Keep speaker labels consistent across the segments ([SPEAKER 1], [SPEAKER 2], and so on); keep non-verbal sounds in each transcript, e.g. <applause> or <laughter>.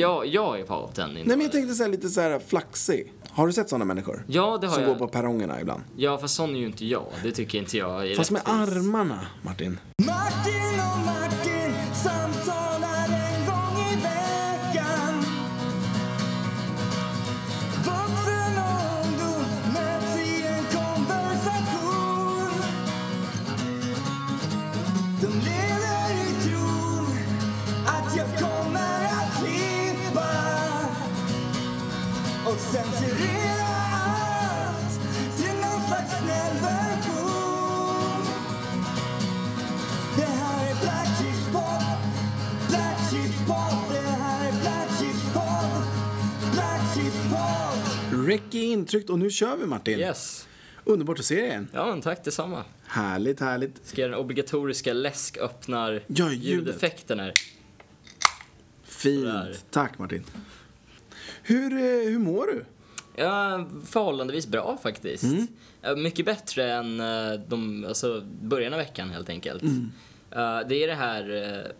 [SPEAKER 1] jag, jag är pauten.
[SPEAKER 2] Nej men jag tänkte så här, lite så här flaxig. Har du sett sådana människor?
[SPEAKER 1] Ja, det har
[SPEAKER 2] Som
[SPEAKER 1] jag.
[SPEAKER 2] går på perrongerna ibland.
[SPEAKER 1] Ja, fast sån är ju inte jag. Det tycker inte jag är
[SPEAKER 2] Fast med
[SPEAKER 1] rättvist.
[SPEAKER 2] armarna, Martin.
[SPEAKER 3] Martin och Martin samtalar en gång i veckan. Vuxen och ungdom möts i en konversation. De lever i tron att jag kommer att klippa och censurera allt till någon slags snäll version. Det här är Black Sheep Pod. Black Sheep Pod. Det här är Black Sheep Pod. Black Sheep Pod.
[SPEAKER 2] Räcker intryckt och nu kör vi Martin.
[SPEAKER 1] Yes.
[SPEAKER 2] Underbart att se dig igen.
[SPEAKER 1] Ja, men tack detsamma.
[SPEAKER 2] Härligt, härligt.
[SPEAKER 1] Ska den obligatoriska läsköppnar
[SPEAKER 2] Ja, ljudet.
[SPEAKER 1] ljudeffekten här.
[SPEAKER 2] Fint.
[SPEAKER 1] Sådär.
[SPEAKER 2] Tack Martin. Hur, eh, hur mår du?
[SPEAKER 1] Ja, förhållandevis bra faktiskt. Eh, Mycket bättre än eh, de, alltså, början av veckan helt enkelt. Eh, Det är det här, eh,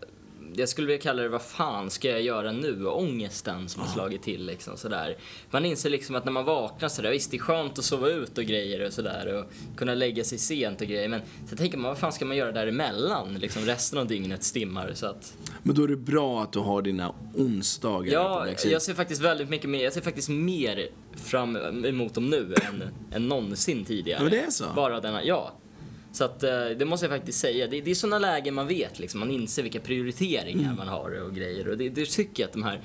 [SPEAKER 1] jag skulle vilja kalla det vad fan ska jag göra nu? Ångesten som har slagit till liksom sådär. Man inser liksom att när man vaknar sådär, visst det är skönt att sova ut och grejer och sådär och kunna lägga sig sent och grejer men så tänker man vad fan ska man göra däremellan? Liksom resten av dygnets timmar så att
[SPEAKER 2] Men då är det bra att du har dina onsdagar på
[SPEAKER 1] Ja,
[SPEAKER 2] Black Sheep.
[SPEAKER 1] jag ser faktiskt väldigt mycket mer, jag ser faktiskt mer fram emot dem nu än, än någonsin tidigare.
[SPEAKER 2] Ja, det är så.
[SPEAKER 1] Bara denna, ja. Så att eh, det måste jag faktiskt säga. Det, det är sådana lägen man vet liksom, man inser vilka prioriteringar
[SPEAKER 2] Mm.
[SPEAKER 1] man har och grejer. Och det, det tycker jag att de här,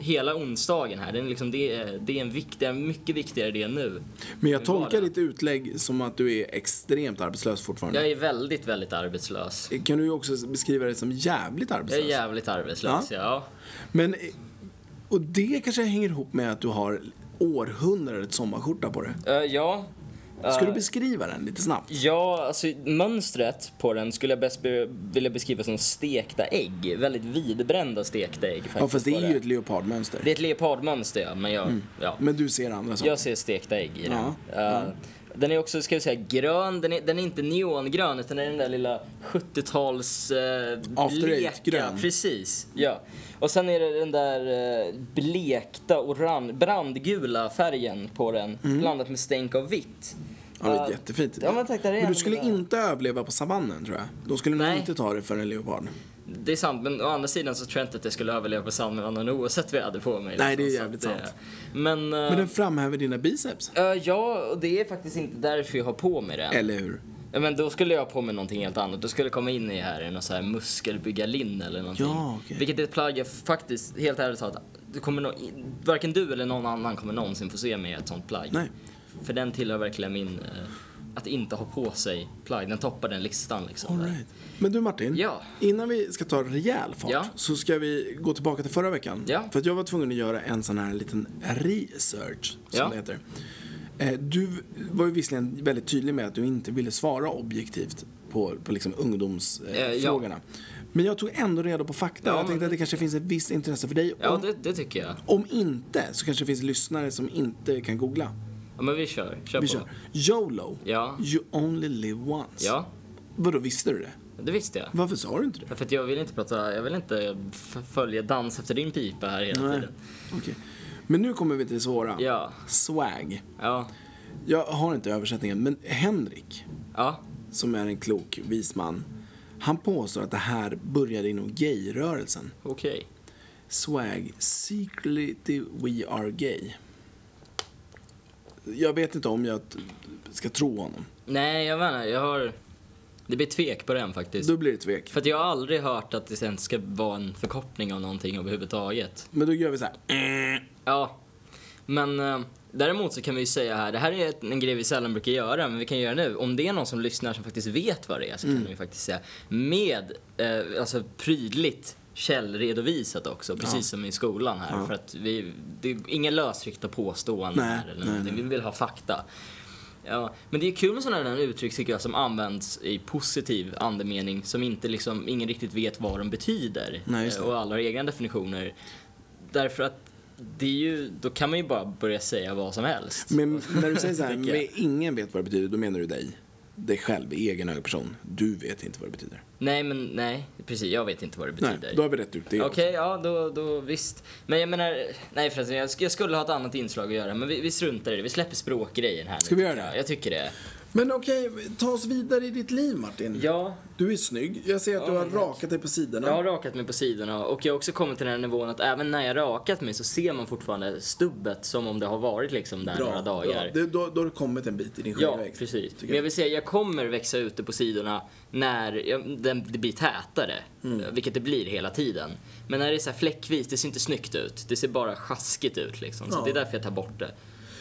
[SPEAKER 1] hela onsdagen här, den liksom, det, är- det är en viktig, en mycket viktigare del nu.
[SPEAKER 2] Men jag
[SPEAKER 1] Hur var
[SPEAKER 2] tolkar
[SPEAKER 1] det?
[SPEAKER 2] ditt utlägg som att du är extremt arbetslös fortfarande.
[SPEAKER 1] Jag är väldigt, väldigt arbetslös.
[SPEAKER 2] Kan du ju också beskriva dig som jävligt
[SPEAKER 1] Jag är
[SPEAKER 2] arbetslös?
[SPEAKER 1] jävligt arbetslös, ja.
[SPEAKER 2] Men, eh, och det kanske hänger ihop med att du har århundradets sommarskjorta på dig.
[SPEAKER 1] Eh, ja.
[SPEAKER 2] Ska du beskriva den lite snabbt?
[SPEAKER 1] Ja, alltså mönstret på den skulle jag bäst be- vilja beskriva som stekta ägg. Väldigt vidbrända stekta ägg faktiskt.
[SPEAKER 2] Ja, fast det
[SPEAKER 1] på
[SPEAKER 2] är ju ett leopardmönster.
[SPEAKER 1] Det är ett leopardmönster ja, men jag, ja.
[SPEAKER 2] Men du ser andra saker.
[SPEAKER 1] jag ser stekta ägg i den.
[SPEAKER 2] Ja,
[SPEAKER 1] Eh, Den är också, ska vi säga, grön. Den är, den är inte neongrön utan den är den där lilla 70-tals... eh,
[SPEAKER 2] After
[SPEAKER 1] bleka-
[SPEAKER 2] Eight-grön.
[SPEAKER 1] Precis, ja. Och sen är det den där eh, blekta orange, brandgula färgen på den blandat med stänk av vitt.
[SPEAKER 2] Mm. Ja, det är
[SPEAKER 1] Eh,
[SPEAKER 2] jättefint.
[SPEAKER 1] ja, men tack, där är
[SPEAKER 2] men du
[SPEAKER 1] den
[SPEAKER 2] skulle
[SPEAKER 1] där.
[SPEAKER 2] inte överleva på savannen tror jag. De skulle nog
[SPEAKER 1] Nej.
[SPEAKER 2] inte ta dig för en leopard.
[SPEAKER 1] Det är sant, men å andra sidan så tror jag inte att jag skulle överleva på savannen oavsett vad jag hade på mig.
[SPEAKER 2] Nej, det är
[SPEAKER 1] liksom, så
[SPEAKER 2] jävligt
[SPEAKER 1] att
[SPEAKER 2] sant.
[SPEAKER 1] Men, eh,
[SPEAKER 2] Men den framhäver dina biceps.
[SPEAKER 1] eh, ja, och det är faktiskt inte därför jag har på mig den.
[SPEAKER 2] Eller hur?
[SPEAKER 1] Ja, Men då skulle jag ha på mig någonting helt annat. Då skulle jag komma in i här i någon så här muskelbyggarlinne eller någonting.
[SPEAKER 2] Ja, okej.
[SPEAKER 1] Vilket är ett plagg jag faktiskt, helt ärligt talat, du kommer nog, varken du eller någon annan kommer någonsin få se mig i ett sånt plagg.
[SPEAKER 2] Nej.
[SPEAKER 1] För den tillhör verkligen min, eh, att inte ha på sig plagg. Den toppar den listan liksom.
[SPEAKER 2] All
[SPEAKER 1] där.
[SPEAKER 2] right. Men du Martin,
[SPEAKER 1] Ja.
[SPEAKER 2] innan vi ska ta rejäl fart
[SPEAKER 1] Ja.
[SPEAKER 2] så ska vi gå tillbaka till förra veckan.
[SPEAKER 1] Ja.
[SPEAKER 2] För att jag var tvungen att göra en sån här liten research, som
[SPEAKER 1] Ja.
[SPEAKER 2] det heter. Eh, Du var ju visserligen väldigt tydlig med att du inte ville svara objektivt på, på liksom
[SPEAKER 1] Eh,
[SPEAKER 2] ungdomsfrågorna.
[SPEAKER 1] ja.
[SPEAKER 2] Men jag tog ändå reda på fakta
[SPEAKER 1] Ja,
[SPEAKER 2] och jag
[SPEAKER 1] men
[SPEAKER 2] tänkte att det kanske finns ett visst intresse för dig.
[SPEAKER 1] Ja,
[SPEAKER 2] om,
[SPEAKER 1] det, det tycker jag.
[SPEAKER 2] om inte så kanske det finns lyssnare som inte kan googla.
[SPEAKER 1] Ja, men vi kör. Kör
[SPEAKER 2] Vi
[SPEAKER 1] på.
[SPEAKER 2] kör. YOLO,
[SPEAKER 1] Ja.
[SPEAKER 2] you only live once.
[SPEAKER 1] Ja,
[SPEAKER 2] Vadå, visste du det?
[SPEAKER 1] det visste jag.
[SPEAKER 2] Varför sa du inte det?
[SPEAKER 1] Därför att jag vill inte prata, jag vill inte f- följa dans efter din pipa här hela
[SPEAKER 2] Nej.
[SPEAKER 1] tiden.
[SPEAKER 2] Okej. Men nu kommer vi till det svåra.
[SPEAKER 1] Ja.
[SPEAKER 2] Swag.
[SPEAKER 1] Ja.
[SPEAKER 2] Jag har inte översättningen, men Henrik,
[SPEAKER 1] Ja.
[SPEAKER 2] som är en klok vis man, han påstår att det här började inom gayrörelsen.
[SPEAKER 1] Okej.
[SPEAKER 2] Swag, secretly we are gay. Jag vet inte om jag t- ska tro honom.
[SPEAKER 1] Nej, jag menar, jag har... Det blir tvek på den faktiskt.
[SPEAKER 2] Då blir det tvek.
[SPEAKER 1] För att jag har aldrig hört att det sen ska vara en förkortning av någonting överhuvudtaget.
[SPEAKER 2] Men då gör vi så här.
[SPEAKER 1] Ja. Men eh, däremot så kan vi ju säga här, det här är ett- en grej vi sällan brukar göra, men vi kan göra nu. Om det är någon som lyssnar som faktiskt vet vad det är så
[SPEAKER 2] Mm.
[SPEAKER 1] kan vi faktiskt säga med, eh, alltså prydligt källredovisat också, precis som i skolan här. För att vi, det är inga lösryckta påståenden
[SPEAKER 2] Nej,
[SPEAKER 1] här eller
[SPEAKER 2] nej,
[SPEAKER 1] någonting.
[SPEAKER 2] nej.
[SPEAKER 1] Vi vill ha fakta. Ja, men det är kul med sådana här uttryck tycker jag som används i positiv andemening som inte liksom, ingen riktigt vet vad de betyder.
[SPEAKER 2] Nej, just
[SPEAKER 1] Eh,
[SPEAKER 2] det.
[SPEAKER 1] och alla har egna definitioner. Därför att det är ju, då kan man ju bara börja säga vad som helst.
[SPEAKER 2] Men när du säger så här,
[SPEAKER 1] Tycker jag.
[SPEAKER 2] men ingen vet vad det betyder, då menar du dig. dig själv i egen hög person. Du vet inte vad det betyder.
[SPEAKER 1] Nej, men nej, precis. Jag vet inte vad det betyder.
[SPEAKER 2] Nej, då har vi rätt ut det.
[SPEAKER 1] Okej, ja då, då visst. Men jag menar, nej förresten, jag, sk- jag skulle ha ett annat inslag att göra, men vi, vi struntar i det. Vi släpper språkgrejen här
[SPEAKER 2] Ska
[SPEAKER 1] nu.
[SPEAKER 2] vi göra
[SPEAKER 1] tycker
[SPEAKER 2] det?
[SPEAKER 1] Jag, jag tycker det.
[SPEAKER 2] Men okej, ta oss vidare i ditt liv Martin.
[SPEAKER 1] Ja,
[SPEAKER 2] Du är snygg. Jag ser att du har rakat dig på sidorna.
[SPEAKER 1] jag har rakat mig på sidorna och jag har också kommit till den här nivån att även när jag rakat mig så ser man fortfarande stubbet som om det har varit liksom där några dagar.
[SPEAKER 2] bra. Det, då, då har du kommit en bit i din
[SPEAKER 1] Ja,
[SPEAKER 2] självväg.
[SPEAKER 1] precis.
[SPEAKER 2] tycker
[SPEAKER 1] Men jag vill säga, jag kommer växa ute på sidorna när jag, den, det blir tätare.
[SPEAKER 2] Mm.
[SPEAKER 1] eh, Vilket det blir hela tiden. Men när det är så här fläckvis, det ser inte snyggt ut. Det ser bara sjaskigt ut liksom. Så
[SPEAKER 2] Ja.
[SPEAKER 1] det är därför jag tar bort det.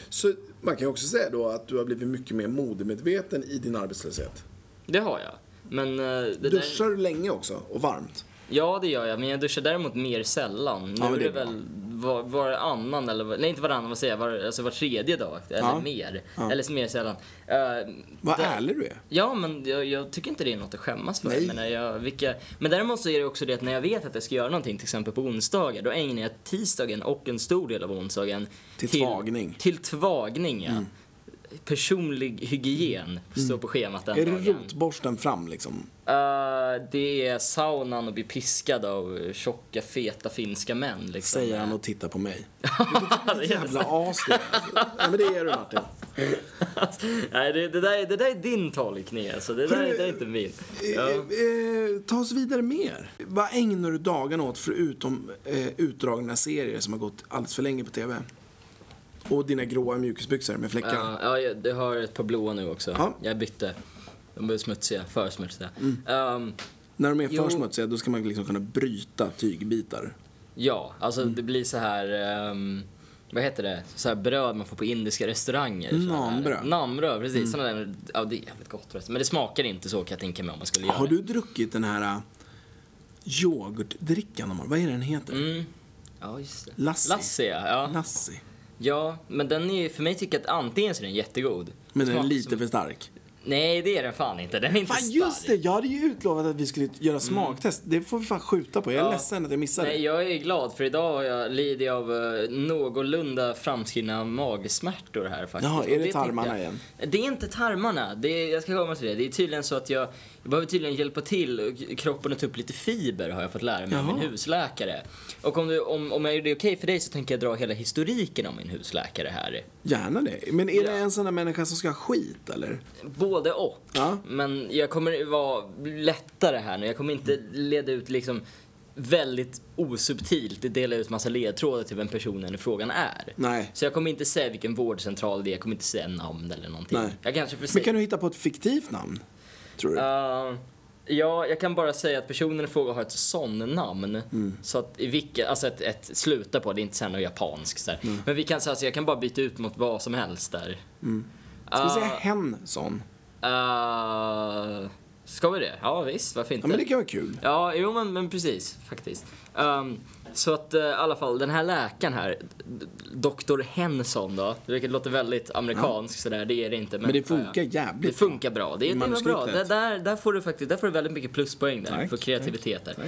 [SPEAKER 2] Så man kan ju också säga då att du har blivit mycket mer modemedveten i din arbetslöshet.
[SPEAKER 1] Det har jag. Men eh, det
[SPEAKER 2] Duschar
[SPEAKER 1] där,
[SPEAKER 2] du länge också och varmt?
[SPEAKER 1] Ja, det gör jag. Men jag duschar däremot mer sällan. Nu
[SPEAKER 2] men
[SPEAKER 1] är
[SPEAKER 2] det
[SPEAKER 1] det
[SPEAKER 2] är bra.
[SPEAKER 1] väl var, varannan eller var, nej inte varannan, vad säger jag? Var, alltså var tredje dag. Eller
[SPEAKER 2] Ja.
[SPEAKER 1] mer.
[SPEAKER 2] Ja.
[SPEAKER 1] Eller så mer sällan. Eh,
[SPEAKER 2] Vad
[SPEAKER 1] det-
[SPEAKER 2] ärlig du är.
[SPEAKER 1] Ja, men jag, jag tycker inte det är något att skämmas för.
[SPEAKER 2] Nej.
[SPEAKER 1] Men, när jag, vilka, men däremot så är det också det att när jag vet att jag ska göra någonting, till exempel på onsdagar, då ägnar jag tisdagen och en stor del av onsdagen
[SPEAKER 2] Till tvagning. Mm.
[SPEAKER 1] Till tvagning, ja. Personlig hygien står på schemat den
[SPEAKER 2] Är det
[SPEAKER 1] dagen.
[SPEAKER 2] rotborsten fram liksom?
[SPEAKER 1] Eh, det är saunan och bli piskad av tjocka, feta finska män. Liksom.
[SPEAKER 2] Säger han och tittar på mig. Vilket jävla as du är. Ja, men det är du Martin.
[SPEAKER 1] <laughs> Nej, det, det, där, är- det där är din tolkning alltså. Det där, är- det där är inte min.
[SPEAKER 2] Eh, eh, ta oss vidare mer. Vad ägnar du dagarna åt förutom eh, utdragna serier som har gått alldeles för länge på TV? Och dina gråa mjukisbyxor med fläckar.
[SPEAKER 1] Ja, ja, jag jag har ett par blåa nu också.
[SPEAKER 2] Ja. Mm.
[SPEAKER 1] Jag bytte. De blev smutsiga, för smutsiga. Ehm,
[SPEAKER 2] När de är för
[SPEAKER 1] Jo.
[SPEAKER 2] smutsiga då ska man liksom kunna bryta tygbitar.
[SPEAKER 1] ja, alltså
[SPEAKER 2] Mm.
[SPEAKER 1] det blir så här... ehm, vad heter det? Så här bröd man får på indiska restauranger. så här.
[SPEAKER 2] Namnbröd.
[SPEAKER 1] Namnbröd, precis.
[SPEAKER 2] Mm.
[SPEAKER 1] Sådana där, ja, det är jävligt gott förresten. Men det smakar inte så kan jag tänka mig om man skulle göra
[SPEAKER 2] Har
[SPEAKER 1] det.
[SPEAKER 2] du druckit den här äh, yoghurtdrickan de har? Vad är den heter?
[SPEAKER 1] Mm. Ja, just det.
[SPEAKER 2] Lassi.
[SPEAKER 1] Lassi, ja. ja.
[SPEAKER 2] Lassi.
[SPEAKER 1] Ja, men den är för mig tycker jag att antingen så är den jättegod.
[SPEAKER 2] Men den är
[SPEAKER 1] Smakar
[SPEAKER 2] lite
[SPEAKER 1] som-
[SPEAKER 2] för stark.
[SPEAKER 1] Nej, det är den fan inte. Den är inte
[SPEAKER 2] Fan
[SPEAKER 1] stark. Mm.
[SPEAKER 2] just det, jag hade ju utlovat att vi skulle göra smaktest. Det får vi fan skjuta på. Jag är
[SPEAKER 1] Ja.
[SPEAKER 2] ledsen att jag missade.
[SPEAKER 1] Nej, jag är glad för idag har jag lider jag av eh, någorlunda framskrivna magsmärtor här faktiskt.
[SPEAKER 2] Jaha, är
[SPEAKER 1] Och
[SPEAKER 2] det
[SPEAKER 1] tycker
[SPEAKER 2] tarmarna
[SPEAKER 1] jag-
[SPEAKER 2] igen?
[SPEAKER 1] Det är inte tarmarna. Det är, jag ska komma till det. Det är tydligen så att jag, jag behöver tydligen hjälpa till och kroppen att ta upp lite fiber har jag fått lära mig av min
[SPEAKER 2] Jaha.
[SPEAKER 1] husläkare. Och om, du, om, om jag gör det okej för dig så tänker jag dra hela historiken om min husläkare här.
[SPEAKER 2] Gärna det. Men är
[SPEAKER 1] Ja.
[SPEAKER 2] det en sån där människa som ska ha skit eller?
[SPEAKER 1] Både och.
[SPEAKER 2] Ja.
[SPEAKER 1] Men jag kommer vara lättare här nu. Jag kommer inte leda ut liksom väldigt osubtilt dela ut massa ledtrådar till vem personen i frågan är.
[SPEAKER 2] Nej.
[SPEAKER 1] Så jag kommer inte säga vilken vårdcentral det är, jag kommer inte säga namn eller någonting.
[SPEAKER 2] Nej.
[SPEAKER 1] Jag kanske får
[SPEAKER 2] Men
[SPEAKER 1] säga...
[SPEAKER 2] kan du hitta på ett fiktivt namn? Tror du?
[SPEAKER 1] Eh, ja, jag kan bara säga att personen i fråga har ett son-namn.
[SPEAKER 2] Mm.
[SPEAKER 1] Så att i vilka, alltså ett, ett sluta på, det är inte såhär något japanskt där. Men vi kan säga, alltså jag kan bara byta ut mot vad som helst där.
[SPEAKER 2] Mm.
[SPEAKER 1] Uh,
[SPEAKER 2] Ska vi säga Henson?
[SPEAKER 1] Eh, ska vi det? Ja visst, varför inte?
[SPEAKER 2] Ja men det kan vara kul.
[SPEAKER 1] Ja, jo men, men precis, faktiskt. Ehm, så att eh, i alla fall, den här läkaren här, d- Dr. Henson då, vilket låter väldigt amerikanskt sådär, det är det inte. Men,
[SPEAKER 2] Men det funkar
[SPEAKER 1] ja, ja.
[SPEAKER 2] jävligt
[SPEAKER 1] Det funkar bra, det,
[SPEAKER 2] I
[SPEAKER 1] det var bra. Där,
[SPEAKER 2] manuskriptet.
[SPEAKER 1] där, där får du faktiskt, där får du väldigt mycket pluspoäng där,
[SPEAKER 2] Tack,
[SPEAKER 1] för
[SPEAKER 2] tack,
[SPEAKER 1] kreativitet där.
[SPEAKER 2] tack.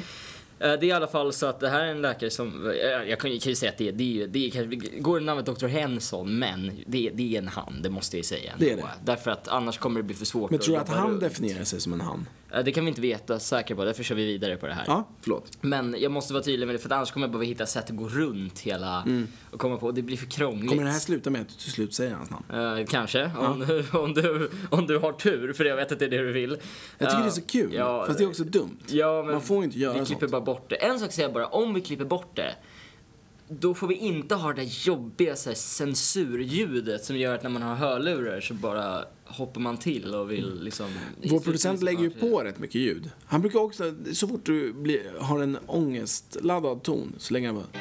[SPEAKER 1] Eh, Det är i alla fall så att det här är en läkare som, eh, jag kan ju kan ju säga att det, är- det, är ju- det är kanske, går namnet Dr. Henson, men det, det är en han, det måste jag ju säga.
[SPEAKER 2] Det är
[SPEAKER 1] ändå.
[SPEAKER 2] det.
[SPEAKER 1] Därför att annars kommer det bli för svårt
[SPEAKER 2] Men tror du att
[SPEAKER 1] jobba
[SPEAKER 2] han
[SPEAKER 1] runt.
[SPEAKER 2] definierar sig som en han?
[SPEAKER 1] Eh, Det kan vi inte veta säkert på, därför kör vi vidare på det här.
[SPEAKER 2] Ja, förlåt.
[SPEAKER 1] Men jag måste vara tydlig med det för att annars kommer jag behöva hitta sätt att gå runt hela och komma på. Det blir för krångligt.
[SPEAKER 2] Mm. Kommer det här sluta med att du till slut säger hans namn?
[SPEAKER 1] Eh, kanske, om, om, du, om du har tur, för jag vet att det är det du vill.
[SPEAKER 2] Jag tycker
[SPEAKER 1] Eh,
[SPEAKER 2] det är så kul,
[SPEAKER 1] ja,
[SPEAKER 2] fast det är också dumt.
[SPEAKER 1] ja, men
[SPEAKER 2] Man får inte göra
[SPEAKER 1] Vi
[SPEAKER 2] sånt.
[SPEAKER 1] klipper bara bort det. En sak säger jag bara, om vi klipper bort det, då får vi inte ha det där jobbiga så här, censurljudet som gör att när man har hörlurar så bara hoppar man till och vill liksom...
[SPEAKER 2] Mm. Vår producent lägger ju på rätt mycket ljud. Han brukar också, så fort du blir, har en ångestladdad ton, så lägger han bara...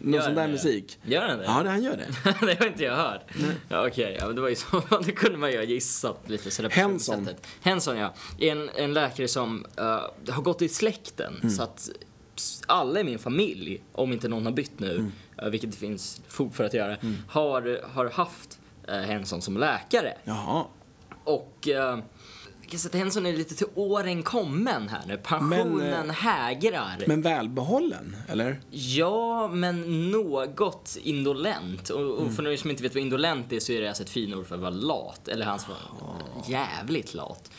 [SPEAKER 2] Någon
[SPEAKER 1] Gör
[SPEAKER 2] sån där
[SPEAKER 1] det?
[SPEAKER 2] musik.
[SPEAKER 1] Gör den det?
[SPEAKER 2] Ja, det, han gör det.
[SPEAKER 1] <laughs> det har inte jag hört. Ja, Okej, ja, men det var ju så. <laughs> Det kunde man ju ha gissat lite sådär på
[SPEAKER 2] Henson.
[SPEAKER 1] sättet. Henson, ja. Är en, en läkare som eh, har gått i släkten.
[SPEAKER 2] Mm.
[SPEAKER 1] Så att s- alla i min familj, om inte någon har bytt nu,
[SPEAKER 2] Mm.
[SPEAKER 1] eh, vilket det finns fog för att göra, har, har haft uh, Henson som eh, läkare.
[SPEAKER 2] Jaha.
[SPEAKER 1] Och eh, Christer Henson är lite till åren kommen här nu. Pensionen
[SPEAKER 2] Men, eh,
[SPEAKER 1] hägrar.
[SPEAKER 2] Men välbehållen, eller?
[SPEAKER 1] Ja, men något indolent. Och, och
[SPEAKER 2] Mm.
[SPEAKER 1] för någon som inte vet vad indolent är så är det alltså ett finord för att vara lat. Eller hans var jävligt lat.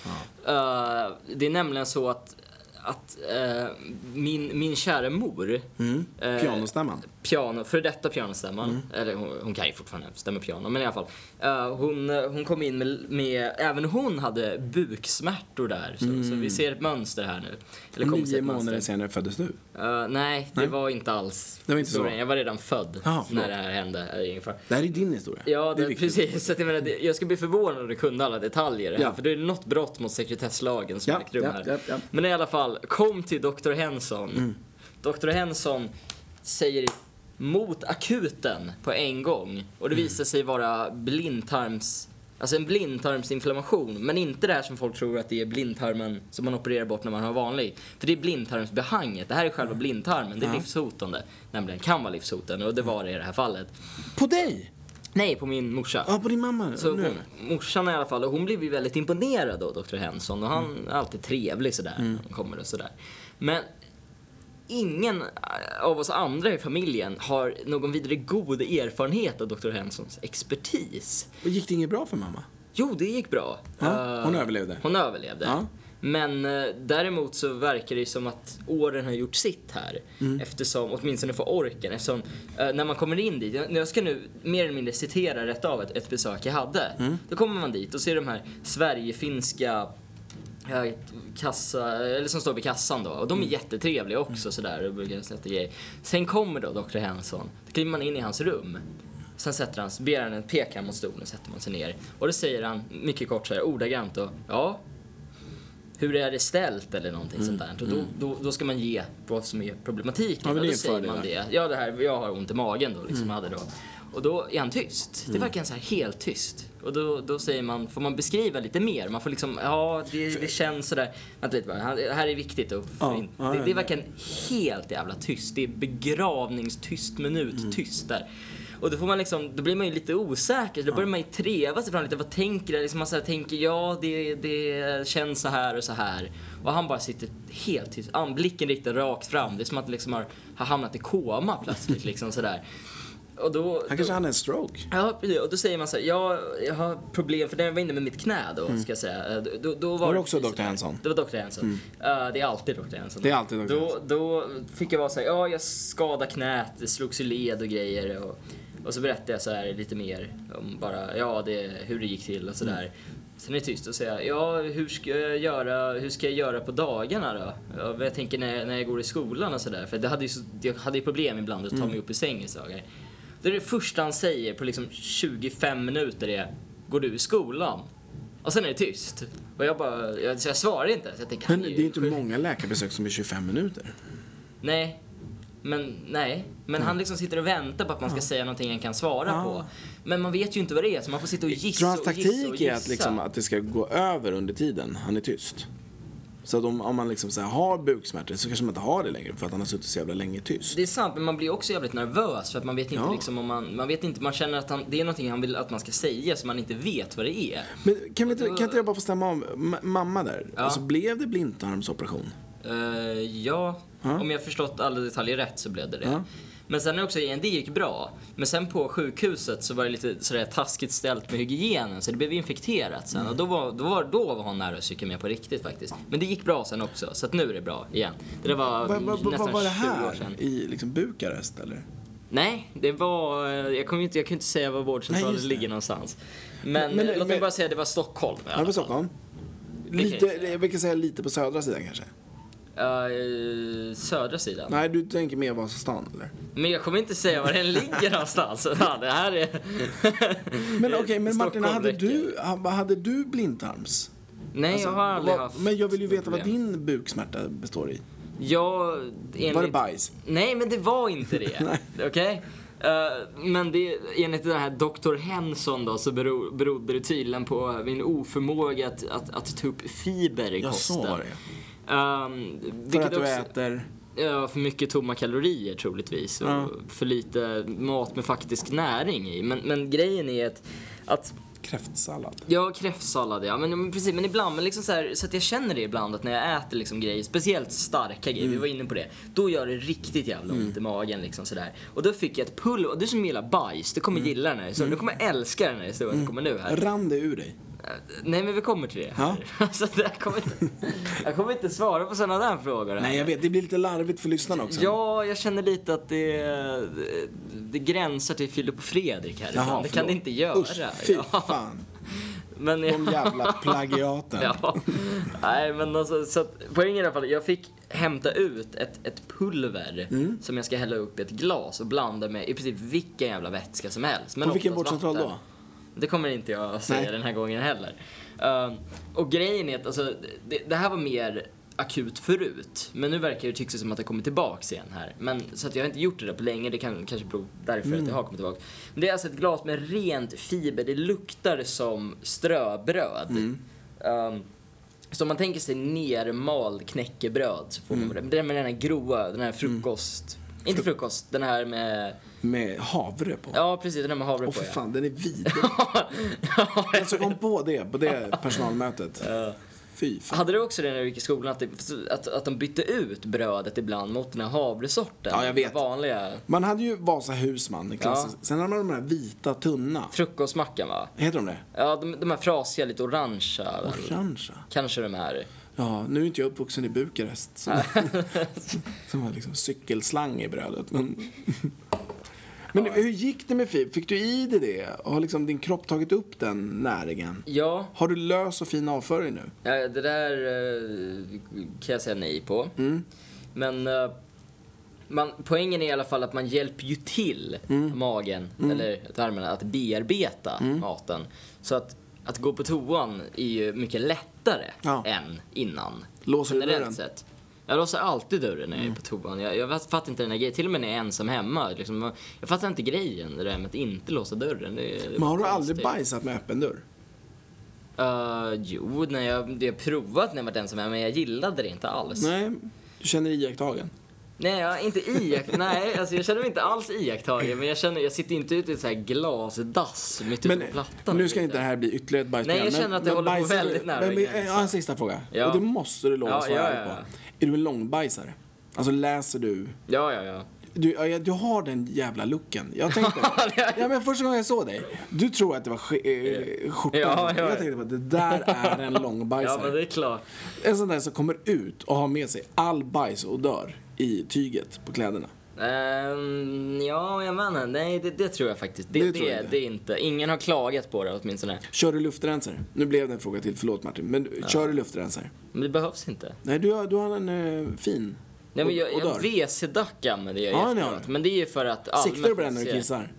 [SPEAKER 1] Eh, det är nämligen så att, att eh, min, min kära mor,
[SPEAKER 2] Mm.
[SPEAKER 1] eh,
[SPEAKER 2] Pianostämman.
[SPEAKER 1] piano, för detta pianostämman,
[SPEAKER 2] Mm.
[SPEAKER 1] eller hon, hon kan ju fortfarande stämma piano, men i alla fall. Eh, hon, eh, hon kom in med, med, även hon hade buksmärtor där. Så, så vi ser ett mönster här nu. Eller kommer se
[SPEAKER 2] Mm. Nio
[SPEAKER 1] ett mönster.
[SPEAKER 2] månader senare föddes du.
[SPEAKER 1] Eh, nej, det var inte alls
[SPEAKER 2] Det var inte så.
[SPEAKER 1] historien. Jag var redan född
[SPEAKER 2] Ah, förlåt.
[SPEAKER 1] när det här hände eh, ungefär.
[SPEAKER 2] Det här är din historia.
[SPEAKER 1] Ja,
[SPEAKER 2] det är
[SPEAKER 1] det,
[SPEAKER 2] viktigt.
[SPEAKER 1] precis. Så att jag, menar, det, jag skulle bli förvånad om du kunde alla detaljer här,
[SPEAKER 2] Ja.
[SPEAKER 1] för det är något brott mot sekretesslagen som
[SPEAKER 2] Ja,
[SPEAKER 1] ägt rum
[SPEAKER 2] ja,
[SPEAKER 1] här.
[SPEAKER 2] ja, ja. Mm.
[SPEAKER 1] Men i alla fall, kom till Dr. Henson. Dr. Henson säger mot akuten på en gång och
[SPEAKER 2] Mm.
[SPEAKER 1] det visar sig vara blindtarms... Alltså en blindtarmsinflammation, men inte det här som folk tror att det är blindtarmen som man opererar bort när man har vanlig. För det är blindtarmsbehanget, det här är själva
[SPEAKER 2] Mm.
[SPEAKER 1] blindtarmen, det är livshotande. Nämligen kan vara livshotande
[SPEAKER 2] Mm.
[SPEAKER 1] och det var det i det här fallet.
[SPEAKER 2] På dig!
[SPEAKER 1] Nej, på min morsa.
[SPEAKER 2] Ja, på din mamma.
[SPEAKER 1] Så
[SPEAKER 2] nu.
[SPEAKER 1] hon, morsan i alla fall, och hon blev ju väldigt imponerad av Dr. Henson och han är alltid trevlig sådär
[SPEAKER 2] Mm.
[SPEAKER 1] när han kommer och sådär. Men ingen av oss andra i familjen har någon vidare god erfarenhet av Dr. Hensons expertis.
[SPEAKER 2] Och gick det inget bra för mamma?
[SPEAKER 1] Jo, det gick bra.
[SPEAKER 2] Ja,
[SPEAKER 1] Eh,
[SPEAKER 2] hon överlevde.
[SPEAKER 1] Hon överlevde.
[SPEAKER 2] Ja.
[SPEAKER 1] Men eh, däremot så verkar det ju som att åren har gjort sitt här. Eftersom, åtminstone för orken, eftersom eh, när man kommer in dit, jag, jag ska nu mer eller mindre citera rätt av ett, ett besök jag hade. Då kommer man dit och ser de här Sverigefinska eh, kassa, eller som står vid kassan då. Och de är jättetrevliga också sådär och brukar sätta grejer. Sen kommer då Dr. Henson, då kliver man in i hans rum. Sen sätter han, ber han en pekar mot stolen, sätter man sig ner. Och då säger han mycket kort såhär ordagrant då, ja, hur är det ställt eller någonting sånt där. Och då, då, då ska man ge vad som är problematiken. och
[SPEAKER 2] Mm, Ja, men det
[SPEAKER 1] då
[SPEAKER 2] är en
[SPEAKER 1] säger
[SPEAKER 2] fördel
[SPEAKER 1] man
[SPEAKER 2] där. Mm.
[SPEAKER 1] det. Ja, det här, jag har ont i magen då, liksom, hade då. Och då är han tyst. Det verkar så här helt tyst. Och då, då säger man, får man beskriva lite mer? Man får liksom, ja, det, det känns sådär. Vänta lite bara, han- det här är viktigt att få
[SPEAKER 2] Ja,
[SPEAKER 1] in.
[SPEAKER 2] ja,
[SPEAKER 1] Det,
[SPEAKER 2] ja,
[SPEAKER 1] det är
[SPEAKER 2] ja.
[SPEAKER 1] verkligen helt jävla tyst. Det är begravningstyst minut tyst där. Och då får man liksom, då blir man ju lite osäker. Då börjar man ju treva sig fram lite. Vad tänker jag? Liksom man så här tänker, ja det, det känns så här och så här. Och han bara sitter helt tyst. Ah, Blicken riktad rakt fram. Det är som att liksom har, har hamnat i koma plötsligt liksom sådär. Och då,
[SPEAKER 2] Han
[SPEAKER 1] då,
[SPEAKER 2] kanske hade en stroke.
[SPEAKER 1] Ja, precis. Och då säger man så här, ja, jag har problem, för när jag var inne med mitt knä då, ska jag säga. Eh, Då, då var
[SPEAKER 2] Var det också
[SPEAKER 1] precis
[SPEAKER 2] Dr. Hanson?
[SPEAKER 1] Det var Dr. Hanson. Eh, det är alltid Dr. Hanson.
[SPEAKER 2] Det är alltid Dr.
[SPEAKER 1] Då,
[SPEAKER 2] Hanson.
[SPEAKER 1] då fick jag vara så här, ja, jag skadade knät, det slogs i led och grejer. Och, och så berättade jag så här lite mer om bara, ja, det, hur det gick till och sådär. Sen är det tyst och säger jag, ja, hur ska jag göra, hur ska jag göra på dagarna då? Ja, vad jag tänker när, jag- när jag går i skolan och sådär. För det hade ju, så, jag hade ju problem ibland att ta
[SPEAKER 2] Mm.
[SPEAKER 1] mig upp i sängen så dagar. Det är det första han säger på liksom 25 minuter är Går du i skolan? Och sen är det tyst. Och jag bara, jag, så jag svarar inte. Så jag tänker,
[SPEAKER 2] Men
[SPEAKER 1] han
[SPEAKER 2] det är
[SPEAKER 1] ju
[SPEAKER 2] ju inte
[SPEAKER 1] sjuk.
[SPEAKER 2] många läkarbesök som är 25 minuter.
[SPEAKER 1] Nej. Men nej. Men han liksom sitter och väntar på att man ska säga någonting han kan svara
[SPEAKER 2] Mm. Ja.
[SPEAKER 1] på. Men man vet ju inte vad det är så man får sitta och
[SPEAKER 2] Så
[SPEAKER 1] gissa
[SPEAKER 2] hans
[SPEAKER 1] och gissa och
[SPEAKER 2] taktik är
[SPEAKER 1] gissa.
[SPEAKER 2] att, liksom, att det ska gå över under tiden han är tyst. Så att om, om man liksom så här har buksmärtor så kanske man inte har det längre för att han har suttit så jävla länge tyst.
[SPEAKER 1] Det är sant, men man blir också jävligt nervös för att man vet inte
[SPEAKER 2] Ja.
[SPEAKER 1] liksom om man, man vet inte, man känner att han, det är någonting han vill att man ska säga så man inte vet vad det är.
[SPEAKER 2] Men kan, vi inte, kan inte jag bara få stämma av ma- mamma där?
[SPEAKER 1] Ja.
[SPEAKER 2] Och så blev det blindtarmsoperation.
[SPEAKER 1] Eh, ja,
[SPEAKER 2] Ja.
[SPEAKER 1] om jag förstått alla detaljer rätt så blev det det.
[SPEAKER 2] Ja.
[SPEAKER 1] Men sen är också igen, det gick bra. Men sen på sjukhuset så var det lite sådär taskigt ställt med hygienen så det blev infekterat sen. Och då var, då var, då var hon nära att psyka med på riktigt faktiskt. Men det gick bra sen också, så att nu är det bra igen. Det där var
[SPEAKER 2] Vad vad-
[SPEAKER 1] nästan
[SPEAKER 2] vad var det
[SPEAKER 1] 20 år sedan.
[SPEAKER 2] här? I liksom Bukarest eller?
[SPEAKER 1] Nej, det var... eh, Jag kan ju inte, jag kan inte säga var
[SPEAKER 2] Nej,
[SPEAKER 1] vårdcentralen
[SPEAKER 2] just det.
[SPEAKER 1] ligger någonstans. Men,
[SPEAKER 2] Men-
[SPEAKER 1] eh, låt mig
[SPEAKER 2] men-
[SPEAKER 1] bara säga att det var Stockholm. i alla
[SPEAKER 2] Ja, på
[SPEAKER 1] fall.
[SPEAKER 2] Stockholm.
[SPEAKER 1] jag
[SPEAKER 2] Lite,
[SPEAKER 1] säga.
[SPEAKER 2] jag brukar säga lite på södra sidan kanske.
[SPEAKER 1] Eh, södra sidan.
[SPEAKER 2] Nej, du tänker mer Vasastan eller?
[SPEAKER 1] Men jag kommer inte säga var
[SPEAKER 2] <laughs>
[SPEAKER 1] den ligger någonstans. Ja, det här är...
[SPEAKER 2] Men okej, men
[SPEAKER 1] <laughs>
[SPEAKER 2] Martin,
[SPEAKER 1] Eh, Stockholm
[SPEAKER 2] hade
[SPEAKER 1] räcker.
[SPEAKER 2] du, ha- hade du blindtarms?
[SPEAKER 1] Nej, jag har aldrig
[SPEAKER 2] Alltså, vad-
[SPEAKER 1] haft
[SPEAKER 2] Men jag vill ju veta vad
[SPEAKER 1] problem.
[SPEAKER 2] din buksmärta består i.
[SPEAKER 1] Jag... Enligt...
[SPEAKER 2] Var det bajs?
[SPEAKER 1] Nej, men det var inte
[SPEAKER 2] <laughs>
[SPEAKER 1] det. Okej? Eh, men det, enligt den här Dr. Henson då så bero, berodde det tydligen på min oförmåga att, att, att ta upp fiber i
[SPEAKER 2] Ja,
[SPEAKER 1] kosten.
[SPEAKER 2] så var det.
[SPEAKER 1] Ehm,
[SPEAKER 2] För
[SPEAKER 1] vilket
[SPEAKER 2] att du
[SPEAKER 1] också,
[SPEAKER 2] äter...
[SPEAKER 1] Ja, för mycket tomma kalorier troligtvis och
[SPEAKER 2] Ja.
[SPEAKER 1] för lite mat med faktisk näring i. Men, men grejen är att, att
[SPEAKER 2] Kräftsallad.
[SPEAKER 1] Ja, kräftsallad ja. Men, men precis, men ibland, men liksom så, här, så att jag känner det ibland att när jag äter liksom grejer, speciellt starka
[SPEAKER 2] Mm.
[SPEAKER 1] grejer, vi var inne på det. Då gör det riktigt jävla ont i magen liksom sådär. Och då fick jag ett pulver, och du som gillar bajs, du
[SPEAKER 2] Mm.
[SPEAKER 1] kommer gilla den här historien. Du kommer älska den här historien som kommer nu här. Äh,
[SPEAKER 2] Rann det ur dig?
[SPEAKER 1] Nej men vi kommer till det
[SPEAKER 2] Ja.
[SPEAKER 1] <laughs> här. Alltså, det här kommer inte, jag kommer inte svara på sådana där frågor. här.
[SPEAKER 2] Nej, jag vet. Det blir lite larvigt för lyssnarna också.
[SPEAKER 1] Ja, jag känner lite att det, det gränsar till Filip och Fredrik här ibland. Det kan
[SPEAKER 2] förlåt.
[SPEAKER 1] det inte göra.
[SPEAKER 2] Usch, fy
[SPEAKER 1] Ja,
[SPEAKER 2] fan.
[SPEAKER 1] men
[SPEAKER 2] De jävla plagiaten.
[SPEAKER 1] <laughs> Ja. Nej, men alltså, så att, poängen i alla fall, jag fick hämta ut ett, ett pulver
[SPEAKER 2] Mm.
[SPEAKER 1] som jag ska hälla upp i ett glas och blanda med i princip vilken jävla vätska som helst. Men
[SPEAKER 2] På vilken
[SPEAKER 1] oftast
[SPEAKER 2] vårdcentral
[SPEAKER 1] vatten.
[SPEAKER 2] då?
[SPEAKER 1] Det kommer inte jag att säga
[SPEAKER 2] Nej.
[SPEAKER 1] den här gången heller. Ehm, och grejen är att alltså, det, det här var mer akut förut, men nu verkar det tycks som att det kommer tillbaks igen här. Men, så att jag har inte gjort det där på länge, det kan kanske bero därför
[SPEAKER 2] Mm.
[SPEAKER 1] att det har kommit tillbaka. Men det är alltså ett glas med rent fiber, det luktar som ströbröd.
[SPEAKER 2] Mm.
[SPEAKER 1] Ehm, så om man tänker sig nermald knäckebröd så får
[SPEAKER 2] Mm.
[SPEAKER 1] man det. Den med den här grova, den här frukost... Inte frukost, den här med...
[SPEAKER 2] Med havre på.
[SPEAKER 1] Ja, precis, den här med havre
[SPEAKER 2] Åh,
[SPEAKER 1] på
[SPEAKER 2] för
[SPEAKER 1] ja.
[SPEAKER 2] fan, den är vidrig. jag som kom på det, på det personalmötet. Fy
[SPEAKER 1] <laughs>
[SPEAKER 2] fan.
[SPEAKER 1] Hade du också det när du gick i skolan, att, det, att, att de bytte ut brödet ibland mot den här havresorten?
[SPEAKER 2] Ja, jag vet.
[SPEAKER 1] Vanliga
[SPEAKER 2] Man hade ju Vasa husman, den klassen.
[SPEAKER 1] Ja.
[SPEAKER 2] Sen hade man de här vita, tunna.
[SPEAKER 1] frukostmackan va?
[SPEAKER 2] Heter de det?
[SPEAKER 1] Ja, de, de här frasiga, lite orangea. väl?
[SPEAKER 2] Orangea.
[SPEAKER 1] Kanske de här.
[SPEAKER 2] Ja, nu är inte jag uppvuxen i Bukarest. Som, <laughs> som har liksom cykelslang i brödet. Men, men hur gick det med fib? Fick du i dig det? Har liksom din kropp tagit upp den näringen?
[SPEAKER 1] Ja,
[SPEAKER 2] Har du lös och fin avföring nu?
[SPEAKER 1] ja, det där eh, kan jag säga nej på.
[SPEAKER 2] Mm.
[SPEAKER 1] Men eh, man, poängen är i alla fall att man hjälper ju till
[SPEAKER 2] Mm.
[SPEAKER 1] magen, eller tarmarna, att bearbeta maten. Så att, att gå på toan är ju mycket lättare
[SPEAKER 2] Ja.
[SPEAKER 1] än innan.
[SPEAKER 2] Låser du dörren? Mm.
[SPEAKER 1] Generellt sett. Jag låser alltid dörren när jag är på toan. Jag, jag fattar inte den här grejen. Till och med när jag är ensam hemma. Liksom, jag fattar inte grejen, det där med att inte låsa dörren. Det, är- det är
[SPEAKER 2] Men har du
[SPEAKER 1] konstigt.
[SPEAKER 2] aldrig bajsat med öppen dörr?
[SPEAKER 1] Eh, jo, när jag, det har jag provat när jag varit ensam hemma, men jag gillade det inte alls.
[SPEAKER 2] Nej, du känner dig iakttagen.
[SPEAKER 1] Nej, jag, inte
[SPEAKER 2] <laughs>
[SPEAKER 1] iakt, nej, alltså jag känner mig inte alls iakttagen, men jag känner, jag sitter inte ute i ett så här glasdass mitt ute på Typ plattan.
[SPEAKER 2] Men nu ska inte det här bli ytterligare ett bajsprogram.
[SPEAKER 1] Nej, jag känner att det
[SPEAKER 2] men,
[SPEAKER 1] håller på
[SPEAKER 2] bajsar du-
[SPEAKER 1] väldigt nära
[SPEAKER 2] men, men,
[SPEAKER 1] gränsen.
[SPEAKER 2] Jag har en sista fråga.
[SPEAKER 1] Ja.
[SPEAKER 2] Och det måste du lova
[SPEAKER 1] Ja,
[SPEAKER 2] att svara
[SPEAKER 1] ja,
[SPEAKER 2] ärligt
[SPEAKER 1] ja,
[SPEAKER 2] på. Är du en långbajsare? Alltså läser du?
[SPEAKER 1] Ja, ja, ja.
[SPEAKER 2] Du, ja, ja, du har den jävla looken.
[SPEAKER 1] <laughs>
[SPEAKER 2] Jag tänkte, ja, men första gången jag såg dig, du tror att det var sk- eh, skjortan.
[SPEAKER 1] Ja, ja, ja.
[SPEAKER 2] Jag tänkte bara, det där
[SPEAKER 1] <laughs>
[SPEAKER 2] är en
[SPEAKER 1] Ja, men
[SPEAKER 2] långbajsare.
[SPEAKER 1] det är klart.
[SPEAKER 2] En sån där som kommer ut och har med sig all bajs och dör i tyget på kläderna.
[SPEAKER 1] Ehm, ja, jag menar, nej, det, det tror jag faktiskt. Det,
[SPEAKER 2] Det
[SPEAKER 1] det,
[SPEAKER 2] tror jag
[SPEAKER 1] det,
[SPEAKER 2] inte.
[SPEAKER 1] är inte. Ingen har klagat på det åtminstone.
[SPEAKER 2] Kör du luftrensare? Nu blev det en fråga till, förlåt Martin. Men du- kör du luftrensare?
[SPEAKER 1] Men det behövs inte.
[SPEAKER 2] Nej, du, har- du har en eh, fin.
[SPEAKER 1] Nej, men
[SPEAKER 2] och,
[SPEAKER 1] jag,
[SPEAKER 2] och
[SPEAKER 1] jag
[SPEAKER 2] dör.
[SPEAKER 1] WC-duck använder jag
[SPEAKER 2] Ja,
[SPEAKER 1] ju
[SPEAKER 2] ni har
[SPEAKER 1] efteråt.
[SPEAKER 2] det.
[SPEAKER 1] Men det är ju för att
[SPEAKER 2] Siktar du på den när du
[SPEAKER 1] ser-
[SPEAKER 2] kissar?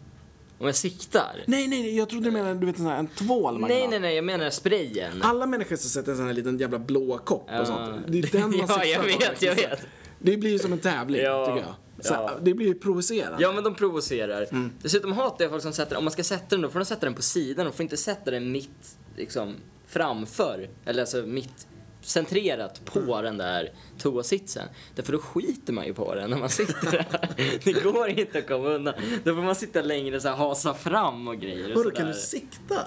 [SPEAKER 1] Om jag siktar?
[SPEAKER 2] Nej, nej, nej, jag trodde du menade du vet, en, sån här, en tvål man kan
[SPEAKER 1] Nej,
[SPEAKER 2] ha.
[SPEAKER 1] nej, nej, jag menar sprayen.
[SPEAKER 2] Alla människor som sätter en sån här liten jävla blå kopp
[SPEAKER 1] Ja.
[SPEAKER 2] och sånt. Det
[SPEAKER 1] <laughs>
[SPEAKER 2] är den man
[SPEAKER 1] Ja,
[SPEAKER 2] siktar
[SPEAKER 1] jag
[SPEAKER 2] på
[SPEAKER 1] vet,
[SPEAKER 2] när man
[SPEAKER 1] jag
[SPEAKER 2] kissar.
[SPEAKER 1] vet.
[SPEAKER 2] Det blir ju som en tävling,
[SPEAKER 1] Ja,
[SPEAKER 2] tycker jag. Så
[SPEAKER 1] ja.
[SPEAKER 2] Det blir ju provocerande.
[SPEAKER 1] Ja men de provocerar.
[SPEAKER 2] Mm.
[SPEAKER 1] Dessutom hatar jag folk som sätter om man ska sätta den då får de sätta den på sidan. De får inte sätta den mitt, liksom, framför. Eller alltså mitt, centrerat på
[SPEAKER 2] Mm.
[SPEAKER 1] den där toasitsen. Därför då skiter man ju på den när man sitter där.
[SPEAKER 2] <laughs>
[SPEAKER 1] det går inte att komma undan. Då får man sitta längre så här hasa fram och grejer och
[SPEAKER 2] Vadå,
[SPEAKER 1] sådär.
[SPEAKER 2] kan du sikta?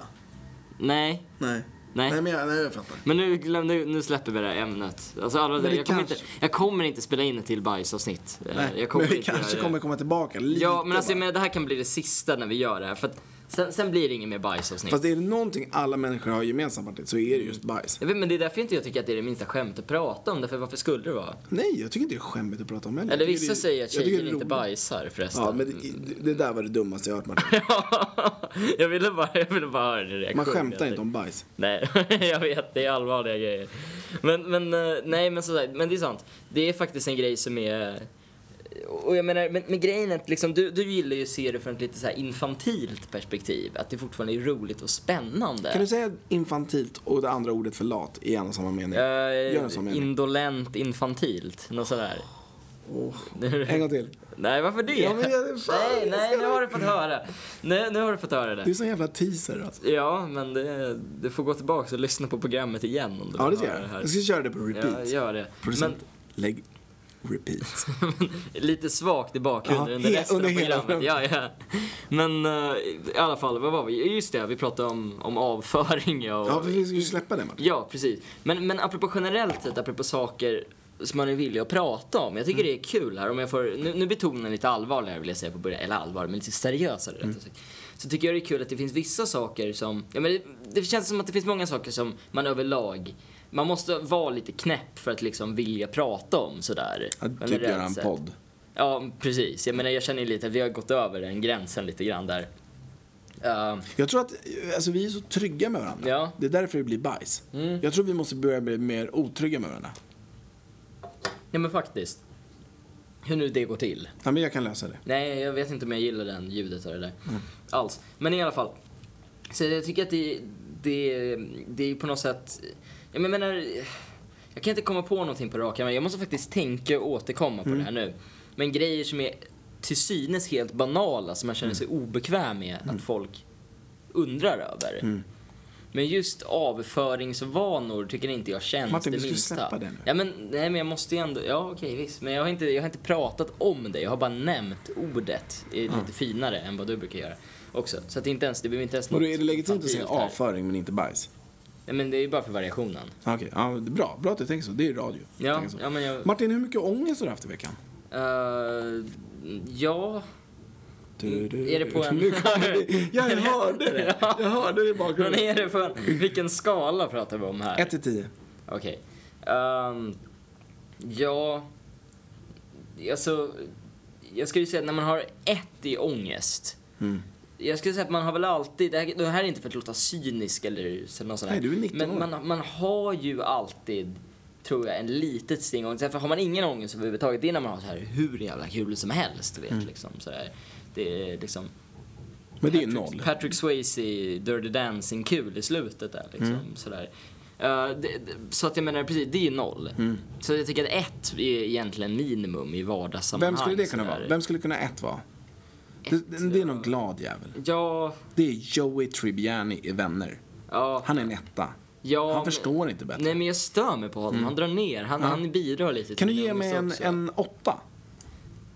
[SPEAKER 1] Nej.
[SPEAKER 2] Nej.
[SPEAKER 1] Nej.
[SPEAKER 2] men jag, nej, jag fattar.
[SPEAKER 1] Men nu, glöm, nu, nu släpper vi det här ämnet. Alltså, alla,
[SPEAKER 2] det
[SPEAKER 1] jag, kommer inte,
[SPEAKER 2] kanske-
[SPEAKER 1] jag kommer inte spela in ett till bajsavsnitt. Eh,
[SPEAKER 2] Nej.
[SPEAKER 1] jag kommer
[SPEAKER 2] men vi
[SPEAKER 1] inte
[SPEAKER 2] kanske
[SPEAKER 1] göra det.
[SPEAKER 2] kommer komma tillbaka lite
[SPEAKER 1] Ja, men alltså,
[SPEAKER 2] bara.
[SPEAKER 1] men det här kan bli det sista när vi gör det här. För att sen, sen blir det inget mer bajsavsnitt.
[SPEAKER 2] Fast är det någonting alla människor har gemensamt, Martin, så är det just bajs.
[SPEAKER 1] Jag vet, men det är därför inte jag tycker att det är det minsta skämt att prata om. Därför varför skulle det vara?
[SPEAKER 2] Nej, jag tycker inte det är skämmigt att prata om heller.
[SPEAKER 1] Eller
[SPEAKER 2] Jag tycker
[SPEAKER 1] vissa
[SPEAKER 2] det är-
[SPEAKER 1] säger att
[SPEAKER 2] jag tycker
[SPEAKER 1] tjejer
[SPEAKER 2] det är
[SPEAKER 1] inte
[SPEAKER 2] roligt.
[SPEAKER 1] bajsar förresten.
[SPEAKER 2] Ja, men det, det där var det dummaste jag hört, Martin.
[SPEAKER 1] <laughs> jag, ville bara, jag ville bara höra din reaktion.
[SPEAKER 2] Man
[SPEAKER 1] helt
[SPEAKER 2] skämtar
[SPEAKER 1] enkelt.
[SPEAKER 2] inte om bajs.
[SPEAKER 1] Nej, <laughs> jag vet. Det är allvarliga grejer. Men, men eh, nej, men som sagt, men det är sant. Det är faktiskt en grej som är... Och jag menar, men, men grejen är att liksom, du, du gillar ju att se det från ett lite så här infantilt perspektiv. Att det fortfarande är roligt och spännande.
[SPEAKER 2] Kan du säga infantilt och det andra ordet för lat i en och samma mening? Gör en sån
[SPEAKER 1] Uh,
[SPEAKER 2] mening.
[SPEAKER 1] Eh, indolent, infantilt, något sådär. <laughs>
[SPEAKER 2] En gång till.
[SPEAKER 1] nej, varför det?
[SPEAKER 2] Ja, men jag- fan,
[SPEAKER 1] nej,
[SPEAKER 2] jag
[SPEAKER 1] nej,
[SPEAKER 2] ska-
[SPEAKER 1] nu har du fått höra. Nu, nu har du fått höra
[SPEAKER 2] Det är
[SPEAKER 1] det.
[SPEAKER 2] så jävla teaser alltså.
[SPEAKER 1] Ja, men det, du får gå tillbaka och lyssna på programmet igen om du
[SPEAKER 2] Ja, det
[SPEAKER 1] vill
[SPEAKER 2] ska
[SPEAKER 1] höra
[SPEAKER 2] jag. Jag ska köra det på repeat.
[SPEAKER 1] Ja, gör det. Men,
[SPEAKER 2] Producent, lägg repeat.
[SPEAKER 1] <laughs> Lite svagt i bakgrunden
[SPEAKER 2] Ja,
[SPEAKER 1] under
[SPEAKER 2] he-
[SPEAKER 1] resten
[SPEAKER 2] under
[SPEAKER 1] av
[SPEAKER 2] hela
[SPEAKER 1] programmet. Ja, ja. Men eh, i alla fall, vad var vi? Just det, vi pratade om, om avföring och...
[SPEAKER 2] Ja, för vi ska ju släppa det matchen.
[SPEAKER 1] Ja, precis. Men, men apropå generellt sett, apropå saker som man är villig att prata om. Jag tycker
[SPEAKER 2] Mm.
[SPEAKER 1] det är kul här, om jag får, nu, nu betonar jag lite allvarligare vill jag säga på början, eller allvar, men lite seriösare
[SPEAKER 2] Mm.
[SPEAKER 1] rättare sagt. Så tycker jag det är kul att det finns vissa saker som, ja men det, det känns som att det finns många saker som man överlag, man måste vara lite knäpp för att liksom vilja prata om sådär.
[SPEAKER 2] Ja, typ
[SPEAKER 1] generellt
[SPEAKER 2] göra en
[SPEAKER 1] sett.
[SPEAKER 2] podd.
[SPEAKER 1] Ja, precis. Jag menar jag känner ju lite att vi har gått över den gränsen lite grann där. Ehm,
[SPEAKER 2] Jag tror att eh, alltså, vi är så trygga med varandra.
[SPEAKER 1] Ja.
[SPEAKER 2] Det är därför det blir bajs. Jag tror vi måste börja bli mer otrygga med varandra.
[SPEAKER 1] ja men faktiskt. Hur nu det går till.
[SPEAKER 2] Ja, men jag kan lösa det.
[SPEAKER 1] Nej, jag vet inte om jag gillar den ljudet av det där. Alls. Men i alla fall. Så jag tycker att det, det, det är på något sätt... Jag menar, jag kan inte komma på någonting på rak arm. Jag måste faktiskt tänka och återkomma på det här nu. Men grejer som är till synes helt banala, som man känner sig obekväm med att folk undrar över. Men just avföringsvanor tycker inte jag känns
[SPEAKER 2] Martin,
[SPEAKER 1] det
[SPEAKER 2] du skulle
[SPEAKER 1] minsta.
[SPEAKER 2] släppa det nu.
[SPEAKER 1] Ja, men, nej, men jag måste ju ändå... Ja, okej, visst. Men jag har, inte, jag har inte pratat om det. Jag har bara nämnt ordet. Det är
[SPEAKER 2] Mm.
[SPEAKER 1] lite finare än vad du brukar göra också. Så att det inte ens... Det behöver inte ens
[SPEAKER 2] Och
[SPEAKER 1] något
[SPEAKER 2] då är det legitimt att säga
[SPEAKER 1] fattigt här.
[SPEAKER 2] avföring men inte bajs?
[SPEAKER 1] Nej, men det är ju bara för variationen.
[SPEAKER 2] Ja, Okej, ja, det är bra. Bra att du tänker så. Det är radio.
[SPEAKER 1] Ja,
[SPEAKER 2] Tänker så.
[SPEAKER 1] ja, men jag-
[SPEAKER 2] Martin, hur mycket ångest har du haft i veckan?
[SPEAKER 1] Eh, ja...
[SPEAKER 2] Du, du,
[SPEAKER 1] Mm. Är det
[SPEAKER 2] <laughs>
[SPEAKER 1] på en-
[SPEAKER 2] Nu kommer det. Ja, jag hörde det. Jag hörde det i
[SPEAKER 1] Men
[SPEAKER 2] bakgrunden.
[SPEAKER 1] är det för... Vilken skala pratar vi om här?
[SPEAKER 2] 1 till 10.
[SPEAKER 1] Okej. Ehm, ja... Alltså, jag skulle säga att när man har ett i ångest.
[SPEAKER 2] Mm.
[SPEAKER 1] Jag skulle säga att man har väl alltid, det här, det här är inte för att låta cynisk eller så- något sånt där.
[SPEAKER 2] Nej, du är 19
[SPEAKER 1] Men
[SPEAKER 2] år.
[SPEAKER 1] man, man har ju alltid, tror jag, en litet sting ångest. Därför har man ingen ångest överhuvudtaget, det är när man har så här hur jävla kul som helst, du vet
[SPEAKER 2] Mm.
[SPEAKER 1] liksom. Så där. Det är liksom...
[SPEAKER 2] Men det är ju
[SPEAKER 1] Patrick-
[SPEAKER 2] noll.
[SPEAKER 1] Patrick Swayze i Dirty Dancing-kul i slutet där liksom.
[SPEAKER 2] Mm.
[SPEAKER 1] Sådär. Eh, det, det, så att jag menar precis, det är ju noll.
[SPEAKER 2] Mm.
[SPEAKER 1] Så jag tycker att ett är egentligen minimum i vardagssammanhang.
[SPEAKER 2] Vem skulle det kunna
[SPEAKER 1] sådär.
[SPEAKER 2] vara? Vem skulle kunna ett vara? Det, det är någon glad jävel.
[SPEAKER 1] Ja,
[SPEAKER 2] Det är Joey Tribbiani i Vänner.
[SPEAKER 1] ja,
[SPEAKER 2] Han är en etta.
[SPEAKER 1] ja.
[SPEAKER 2] Han förstår inte bättre. Mm.
[SPEAKER 1] Nej men jag stör mig på honom, han drar ner, han, han bidrar lite
[SPEAKER 2] Kan du
[SPEAKER 1] till
[SPEAKER 2] ge mig en,
[SPEAKER 1] också.
[SPEAKER 2] en åtta?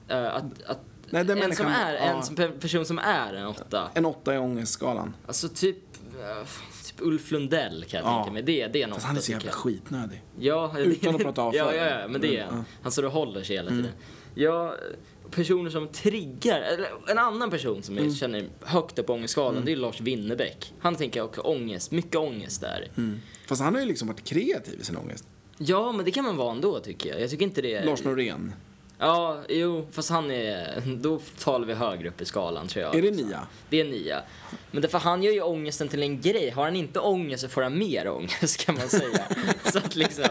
[SPEAKER 1] Eh, att, att,
[SPEAKER 2] Nej, den
[SPEAKER 1] en som
[SPEAKER 2] människan-
[SPEAKER 1] är,
[SPEAKER 2] ja.
[SPEAKER 1] en som, pe- person som är en åtta.
[SPEAKER 2] En åtta i ångestskalan.
[SPEAKER 1] Alltså typ, eh, typ Ulf Lundell kan jag
[SPEAKER 2] Ja.
[SPEAKER 1] tänka mig. Det, det är en åtta
[SPEAKER 2] Fast han är så
[SPEAKER 1] tycker
[SPEAKER 2] jävla
[SPEAKER 1] jag.
[SPEAKER 2] skitnödig.
[SPEAKER 1] Ja,
[SPEAKER 2] Utan att prata avföring.
[SPEAKER 1] <laughs> ja, ja, ja, men det är
[SPEAKER 2] Mm,
[SPEAKER 1] han. Han står och håller sig hela tiden. Ja, personer som triggar, eller en annan person som
[SPEAKER 2] Mm.
[SPEAKER 1] jag känner högt upp på ångestskalan, det är Lars Winnerbäck. Han tänker jag också ångest, mycket ångest där.
[SPEAKER 2] Mm. Fast han har ju liksom varit kreativ i sin ångest.
[SPEAKER 1] Ja, men det kan man vara ändå tycker jag. Jag tycker inte det är...
[SPEAKER 2] Lars Norén.
[SPEAKER 1] Ja, jo, fast han är, då talar vi högre upp i skalan tror jag.
[SPEAKER 2] Är det nia?
[SPEAKER 1] Det är nia. Men därför han gör ju ångesten till en grej. Har han inte ångest så får han mer ångest kan man
[SPEAKER 2] <laughs>
[SPEAKER 1] säga. så att liksom.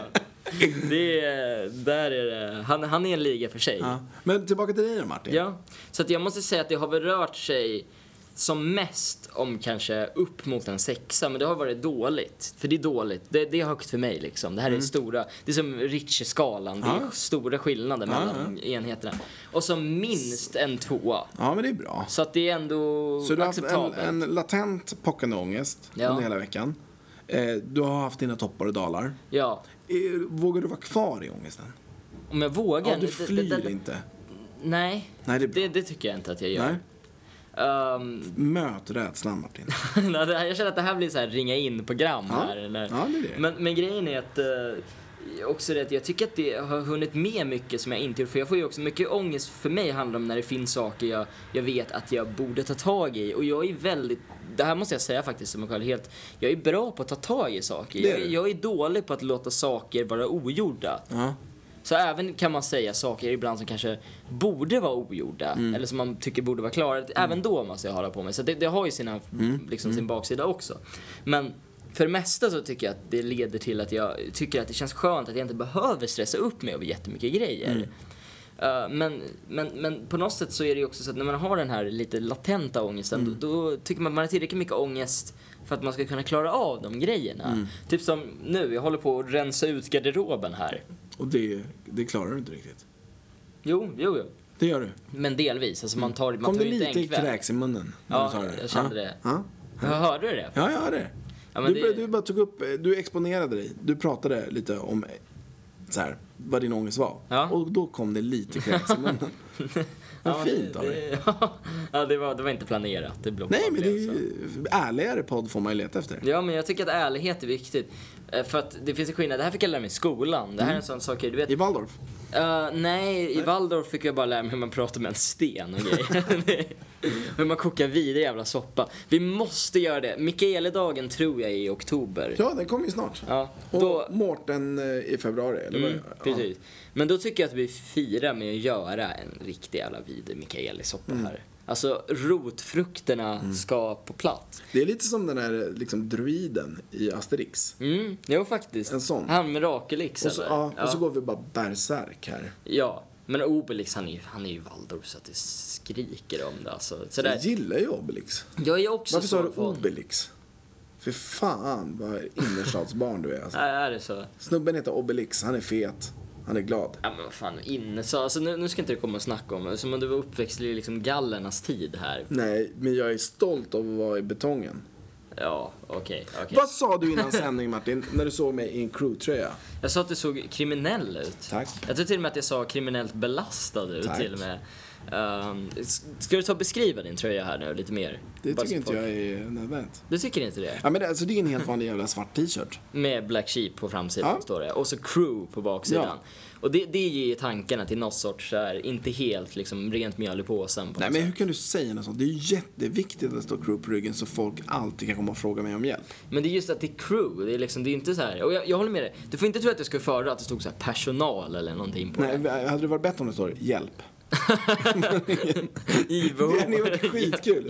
[SPEAKER 1] Det är, där är det. Han, han är en liga för sig.
[SPEAKER 2] Ja. Men tillbaka till dig då Martin.
[SPEAKER 1] Ja. Så att jag måste säga att det har väl rört sig som mest om kanske upp mot en sexa, men det har varit dåligt. För det är dåligt, det, det är högt för mig liksom. Det här är stora, det är som Ritchie-skalan, det är
[SPEAKER 2] Mm. Ja.
[SPEAKER 1] stora skillnader mellan enheterna. Och som minst en tvåa.
[SPEAKER 2] Ja, men det är bra.
[SPEAKER 1] Så att det är ändå
[SPEAKER 2] Så du har haft en,
[SPEAKER 1] acceptabelt.
[SPEAKER 2] en latent pockande ångest
[SPEAKER 1] Ja.
[SPEAKER 2] under hela veckan. Eh, du har haft dina toppar och dalar.
[SPEAKER 1] Ja,
[SPEAKER 2] Eh, Vågar du vara kvar i ångesten?
[SPEAKER 1] om jag vågar.
[SPEAKER 2] Ja, du
[SPEAKER 1] Det- det-
[SPEAKER 2] flyr
[SPEAKER 1] det- det-
[SPEAKER 2] inte.
[SPEAKER 1] Nej,
[SPEAKER 2] Nej, det är bra.
[SPEAKER 1] det, det tycker jag inte att jag gör.
[SPEAKER 2] Nej.
[SPEAKER 1] Ehm, <laughs>
[SPEAKER 2] Möt rädslan Martin.
[SPEAKER 1] Nej, det här- jag känner att det här blir så här ringa in-program
[SPEAKER 2] Ja.
[SPEAKER 1] här. Eller?
[SPEAKER 2] Ja, det är det.
[SPEAKER 1] Men, men grejen är att eh, också det att jag tycker att det har hunnit med mycket som jag inte gjort. För jag får ju också mycket ångest för mig handlar om när det finns saker jag, jag vet att jag borde ta tag i. Och jag är väldigt, det här måste jag säga faktiskt som jag själv helt, jag är bra på att ta tag i saker.
[SPEAKER 2] Det är
[SPEAKER 1] Jag,
[SPEAKER 2] du.
[SPEAKER 1] jag är dålig på att låta saker vara ogjorda.
[SPEAKER 2] Ja.
[SPEAKER 1] Så även kan man säga saker ibland som kanske borde vara ogjorda eller som man tycker borde vara klara. Även då måste jag hålla på med. Så det, det har ju sina, liksom, sin baksida också. Men för det mesta så tycker jag att det leder till att jag tycker att det känns skönt att jag inte behöver stressa upp mig över jättemycket grejer. Eh, men, men, men på något sätt så är det ju också så att när man har den här lite latenta ångesten då, då tycker man att man har tillräckligt mycket ångest för att man ska kunna klara av de grejerna. Typ som nu, jag håller på att rensa ut garderoben här.
[SPEAKER 2] Och det, det klarar du inte riktigt.
[SPEAKER 1] Jo, jo, jo.
[SPEAKER 2] Det gör du.
[SPEAKER 1] Men delvis. Alltså man tar, man
[SPEAKER 2] Mm. Kom
[SPEAKER 1] tar
[SPEAKER 2] det
[SPEAKER 1] ju inte en
[SPEAKER 2] lite
[SPEAKER 1] kväll.
[SPEAKER 2] kräks i munnen? när
[SPEAKER 1] Ja,
[SPEAKER 2] du sa
[SPEAKER 1] jag kände
[SPEAKER 2] ja.
[SPEAKER 1] det.
[SPEAKER 2] Ja.
[SPEAKER 1] Ja, Hörde du det?
[SPEAKER 2] ja, jag hörde det.
[SPEAKER 1] Ja, men
[SPEAKER 2] du,
[SPEAKER 1] det-
[SPEAKER 2] började- du bara tog upp, du exponerade dig. Du pratade lite om eh, så här, vad din ångest var.
[SPEAKER 1] Ja.
[SPEAKER 2] Och då kom det lite kräks
[SPEAKER 1] <laughs>
[SPEAKER 2] i munnen. Vad
[SPEAKER 1] men
[SPEAKER 2] fint
[SPEAKER 1] det,
[SPEAKER 2] av dig.
[SPEAKER 1] det, <laughs> ja, det, var, det var inte planerat. Det blev
[SPEAKER 2] Nej, men det är
[SPEAKER 1] så.
[SPEAKER 2] ju, ärligare podd får man ju leta efter.
[SPEAKER 1] Ja, men jag tycker att ärlighet är viktigt. Eh, För att det finns en skillnad. Det här fick jag lära mig i skolan. Det här är en sån sak, du vet.
[SPEAKER 2] Mm. I Waldorf.
[SPEAKER 1] Eh, nej, i Waldorf fick jag bara lära mig hur man pratar med en sten och grejer. <laughs> hur man kokar vidare jävla soppa. Vi måste göra det. Mikaeledagen tror jag är i oktober.
[SPEAKER 2] Ja, den kommer ju snart.
[SPEAKER 1] Ja,
[SPEAKER 2] Och
[SPEAKER 1] då-
[SPEAKER 2] Mårten eh, i februari, eller vad
[SPEAKER 1] Mm,
[SPEAKER 2] är det?
[SPEAKER 1] precis. Men då tycker jag att vi firar med att göra en riktig jävla vidrig Mikaelisoppa
[SPEAKER 2] Mm.
[SPEAKER 1] här. Alltså rotfrukterna ska på plats.
[SPEAKER 2] Ja. Det är lite som den här liksom, druiden i Asterix.
[SPEAKER 1] Mm, jo faktiskt.
[SPEAKER 2] En sån.
[SPEAKER 1] Han med Rakelix
[SPEAKER 2] Och så,
[SPEAKER 1] eller?
[SPEAKER 2] ja, och så
[SPEAKER 1] ja.
[SPEAKER 2] går vi bara bärsärk här.
[SPEAKER 1] ja. Men Obelix han är, ju- han är ju Waldorf så att det skriker om det alltså. Sådär.
[SPEAKER 2] Jag gillar ju Obelix.
[SPEAKER 1] Jag är också
[SPEAKER 2] Varför sa du
[SPEAKER 1] fan.
[SPEAKER 2] Obelix? För fan vad innerstadsbarn du är.
[SPEAKER 1] <laughs>
[SPEAKER 2] Alltså.
[SPEAKER 1] Nej, är det så?
[SPEAKER 2] Snubben heter Obelix, han är fet, han är glad.
[SPEAKER 1] Ja men vad fan, inne så, alltså nu, nu ska inte det komma och snacka om, som om du var uppväxt i liksom gallernas tid här.
[SPEAKER 2] Nej, men jag är stolt över att vara i betongen.
[SPEAKER 1] Ja, okej, okej.
[SPEAKER 2] Vad sa du innan sändning Martin, när du såg mig i en crewtröja?
[SPEAKER 1] Jag sa att du såg kriminell ut.
[SPEAKER 2] Tack.
[SPEAKER 1] Jag tror till och med att jag sa kriminellt belastad ut
[SPEAKER 2] Tack.
[SPEAKER 1] till och med. Ehm, s- ska du ta och beskriva din tröja här nu lite mer?
[SPEAKER 2] Det
[SPEAKER 1] Bara så
[SPEAKER 2] tycker inte
[SPEAKER 1] folk-
[SPEAKER 2] jag är nödvändigt.
[SPEAKER 1] Du tycker inte det?
[SPEAKER 2] Ja men det, alltså det är en helt vanlig jävla svart t-shirt.
[SPEAKER 1] Med Black Sheep på framsidan
[SPEAKER 2] Ja.
[SPEAKER 1] står det. Och så crew på baksidan.
[SPEAKER 2] Ja.
[SPEAKER 1] Och det, det ger ju tankarna till något sorts så här, inte helt liksom rent mjöl i påsen på
[SPEAKER 2] Nej
[SPEAKER 1] något
[SPEAKER 2] men
[SPEAKER 1] sätt.
[SPEAKER 2] hur kan du säga något sånt? Det är ju jätteviktigt att det står crew på ryggen så folk alltid kan komma och fråga mig om hjälp.
[SPEAKER 1] Men det är just att det är crew, det är liksom, det är inte så här. Och jag, jag håller med dig, du får inte tro att jag skulle föredra att det stod så här personal eller
[SPEAKER 2] <laughs>
[SPEAKER 1] någonting på
[SPEAKER 2] Nej, eh, hade det varit bättre om det står hjälp?
[SPEAKER 1] IVO.
[SPEAKER 2] Det hade ju varit skitkul.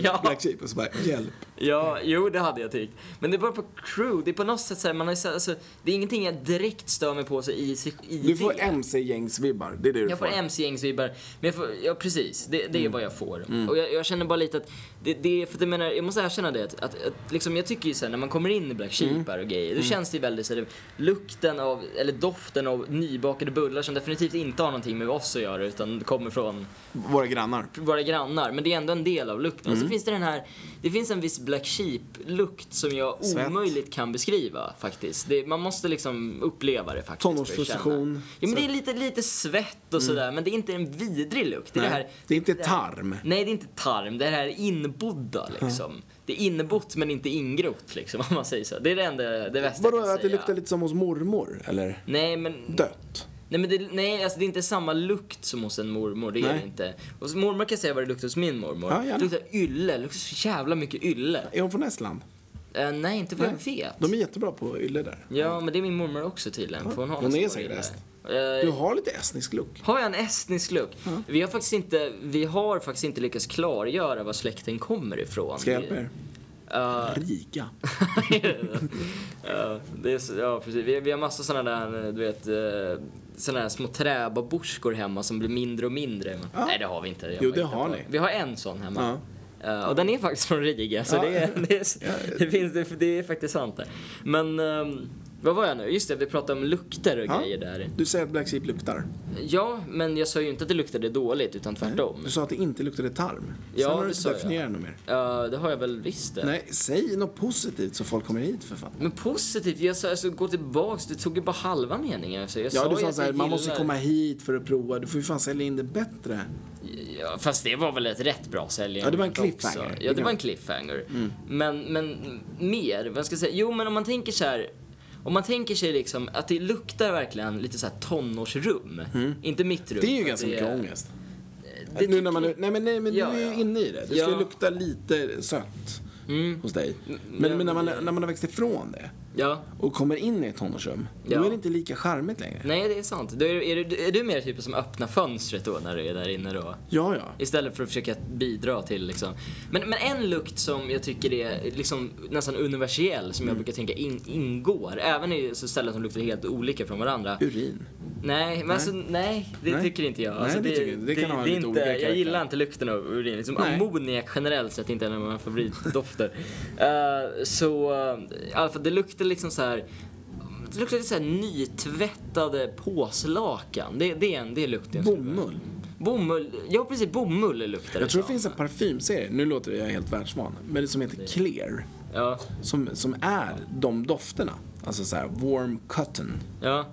[SPEAKER 1] <laughs> Ja.
[SPEAKER 2] Black Sheep och så bara hjälp.
[SPEAKER 1] Ja, jo det hade jag tyckt. Men det är bara på crew, det är på något sätt såhär, man har ju så- alltså, det är ingenting jag direkt stör mig på så i, sig- i
[SPEAKER 2] Du får
[SPEAKER 1] det.
[SPEAKER 2] MC-gängsvibbar, det är det du
[SPEAKER 1] Jag får MC-gängsvibbar, men jag får, ja precis, det,
[SPEAKER 2] Mm.
[SPEAKER 1] det är vad jag får. Och jag, jag känner bara lite att, det, det är, för att jag menar, jag måste erkänna det, att, att, att liksom, jag tycker ju såhär när man kommer in i Black Sheep
[SPEAKER 2] Mm.
[SPEAKER 1] här och grejer, då känns det ju väldigt såhär, lukten av, eller doften av nybakade bullar som definitivt inte har någonting med oss att göra utan kommer från
[SPEAKER 2] Våra grannar.
[SPEAKER 1] våra grannar, men det är ändå en del av lukten.
[SPEAKER 2] Mm.
[SPEAKER 1] Och så finns det den här, det finns en viss Black Sheep-lukt som jag
[SPEAKER 2] Svett.
[SPEAKER 1] omöjligt kan beskriva faktiskt. Det, man måste liksom uppleva det faktiskt. för att
[SPEAKER 2] Tonårsfrustration.
[SPEAKER 1] känna. Ja men det är lite, lite svett och
[SPEAKER 2] Mm.
[SPEAKER 1] sådär, men det är inte en vidrig lukt. Det är det här,
[SPEAKER 2] det är inte tarm.
[SPEAKER 1] nej det är inte tarm, det är det här inbodda liksom. Det är inbott men inte ingrott liksom, <laughs> om man säger så. Det är det enda, det bästa
[SPEAKER 2] Vadå,
[SPEAKER 1] jag kan
[SPEAKER 2] att det
[SPEAKER 1] säga.
[SPEAKER 2] luktar lite som hos mormor? Eller?
[SPEAKER 1] Nej men
[SPEAKER 2] Dött.
[SPEAKER 1] Nej men det, nej, alltså det är inte samma lukt som hos en mormor, det är
[SPEAKER 2] Nej.
[SPEAKER 1] det inte. Och så mormor kan jag säga vad det luktar hos min mormor.
[SPEAKER 2] Ja, gärna.
[SPEAKER 1] det luktar ylle, det luktar så jävla mycket ylle.
[SPEAKER 2] Är hon från Estland?
[SPEAKER 1] Eh, nej, inte vad jag vet.
[SPEAKER 2] De är jättebra på ylle där.
[SPEAKER 1] Ja, men det är min mormor också tydligen. För hon har
[SPEAKER 2] hon
[SPEAKER 1] en stor
[SPEAKER 2] är säkert
[SPEAKER 1] ylle.
[SPEAKER 2] est.
[SPEAKER 1] Eh,
[SPEAKER 2] Du har lite estnisk look.
[SPEAKER 1] har jag en estnisk look? Vi, har faktiskt inte, vi har faktiskt inte lyckats klargöra var släkten kommer ifrån.
[SPEAKER 2] Ska jag hjälpa er?
[SPEAKER 1] Eh,
[SPEAKER 2] Rika.
[SPEAKER 1] ja, det är, så- ja, precis. Vi, vi har massa sådana där, du vet, eh, såna där små träbaborskor hemma som blir mindre och mindre. Men, Nej, det har vi inte. Jag
[SPEAKER 2] Jo,
[SPEAKER 1] bara
[SPEAKER 2] det
[SPEAKER 1] hittar
[SPEAKER 2] har
[SPEAKER 1] på.
[SPEAKER 2] ni.
[SPEAKER 1] Vi har en sån hemma. Eh, och den är faktiskt från Riga, så
[SPEAKER 2] Ja.
[SPEAKER 1] det, är, det, är, det, finns, det, det är faktiskt sant där. Men, ehm, vad var jag nu? Just det, vi pratade om lukter och
[SPEAKER 2] Ja.
[SPEAKER 1] grejer där.
[SPEAKER 2] Du säger att Black Sheep luktar.
[SPEAKER 1] Ja, men jag sa ju inte att det luktade dåligt, utan tvärtom.
[SPEAKER 2] Du sa att det inte luktade tarm.
[SPEAKER 1] Ja,
[SPEAKER 2] Sen har du
[SPEAKER 1] det
[SPEAKER 2] inte
[SPEAKER 1] sa jag.
[SPEAKER 2] definierat något mer.
[SPEAKER 1] Eh, det har jag väl visst det.
[SPEAKER 2] Nej, säg något positivt så folk kommer hit för fan.
[SPEAKER 1] Men positivt, jag sa alltså gå tillbaks, det tog ju bara halva meningen. Alltså, jag
[SPEAKER 2] Ja,
[SPEAKER 1] sa
[SPEAKER 2] du
[SPEAKER 1] ju
[SPEAKER 2] sa
[SPEAKER 1] att
[SPEAKER 2] så här,
[SPEAKER 1] jag
[SPEAKER 2] man måste
[SPEAKER 1] gillar-
[SPEAKER 2] komma hit för att prova. Du får ju fan sälja in det bättre.
[SPEAKER 1] Ja, fast det var väl ett rätt bra sälj.
[SPEAKER 2] Ja, det Mm. var en
[SPEAKER 1] också.
[SPEAKER 2] cliffhanger.
[SPEAKER 1] Ja, det var en cliffhanger. Men, men mer, vad ska jag säga? Jo, men om man tänker så här. Om man tänker sig liksom att det luktar verkligen lite så här tonårsrum. Inte mitt rum.
[SPEAKER 2] Mm. Det är ju
[SPEAKER 1] för
[SPEAKER 2] ganska
[SPEAKER 1] att
[SPEAKER 2] mycket
[SPEAKER 1] är-
[SPEAKER 2] ångest.
[SPEAKER 1] det
[SPEAKER 2] nu när man,
[SPEAKER 1] tycker-
[SPEAKER 2] nej men, nej, men
[SPEAKER 1] Ja,
[SPEAKER 2] du är ju
[SPEAKER 1] ja.
[SPEAKER 2] inne i det. Det ska
[SPEAKER 1] Ja. Mm.
[SPEAKER 2] ju lukta lite sött hos dig. Men,
[SPEAKER 1] ja,
[SPEAKER 2] men när, man,
[SPEAKER 1] men-
[SPEAKER 2] när man har växt ifrån det
[SPEAKER 1] Ja.
[SPEAKER 2] och kommer in i ett tonårsrum,
[SPEAKER 1] Ja.
[SPEAKER 2] då är det inte lika charmigt längre.
[SPEAKER 1] Nej, det är sant. Då är, är, du, är du mer typen som öppnar fönstret då när du är där inne då?
[SPEAKER 2] Ja, ja.
[SPEAKER 1] Istället för att försöka bidra till liksom. Men, men en lukt som jag tycker är liksom nästan universell som
[SPEAKER 2] Mm.
[SPEAKER 1] jag brukar tänka in, ingår, även i så ställen som luktar helt olika från varandra.
[SPEAKER 2] Urin.
[SPEAKER 1] Nej, men alltså nej, det
[SPEAKER 2] Nej.
[SPEAKER 1] tycker inte jag.
[SPEAKER 2] Nej,
[SPEAKER 1] Alltså,
[SPEAKER 2] det tycker jag inte. Det kan ha
[SPEAKER 1] det är
[SPEAKER 2] lite
[SPEAKER 1] inte,
[SPEAKER 2] olika
[SPEAKER 1] Jag
[SPEAKER 2] karaktär.
[SPEAKER 1] gillar inte lukten av urin. Liksom
[SPEAKER 2] Nej.
[SPEAKER 1] ammoniak generellt sett inte är en av mina
[SPEAKER 2] <laughs>
[SPEAKER 1] favoritdofter. Eh, så, eh, i alla fall det luktar liksom så här. Det luktar lite såhär nytvättade påslakan. Det, det är en, det är lukten. jag skulle-
[SPEAKER 2] Bomull.
[SPEAKER 1] Bomull, ja precis, bomull liksom. luktar
[SPEAKER 2] Jag tror det
[SPEAKER 1] som.
[SPEAKER 2] finns en parfymserie, nu låter jag helt världsvan, men det som heter Clear.
[SPEAKER 1] Ja,
[SPEAKER 2] Som, som är de dofterna. Alltså så här, warm cotton.
[SPEAKER 1] ja.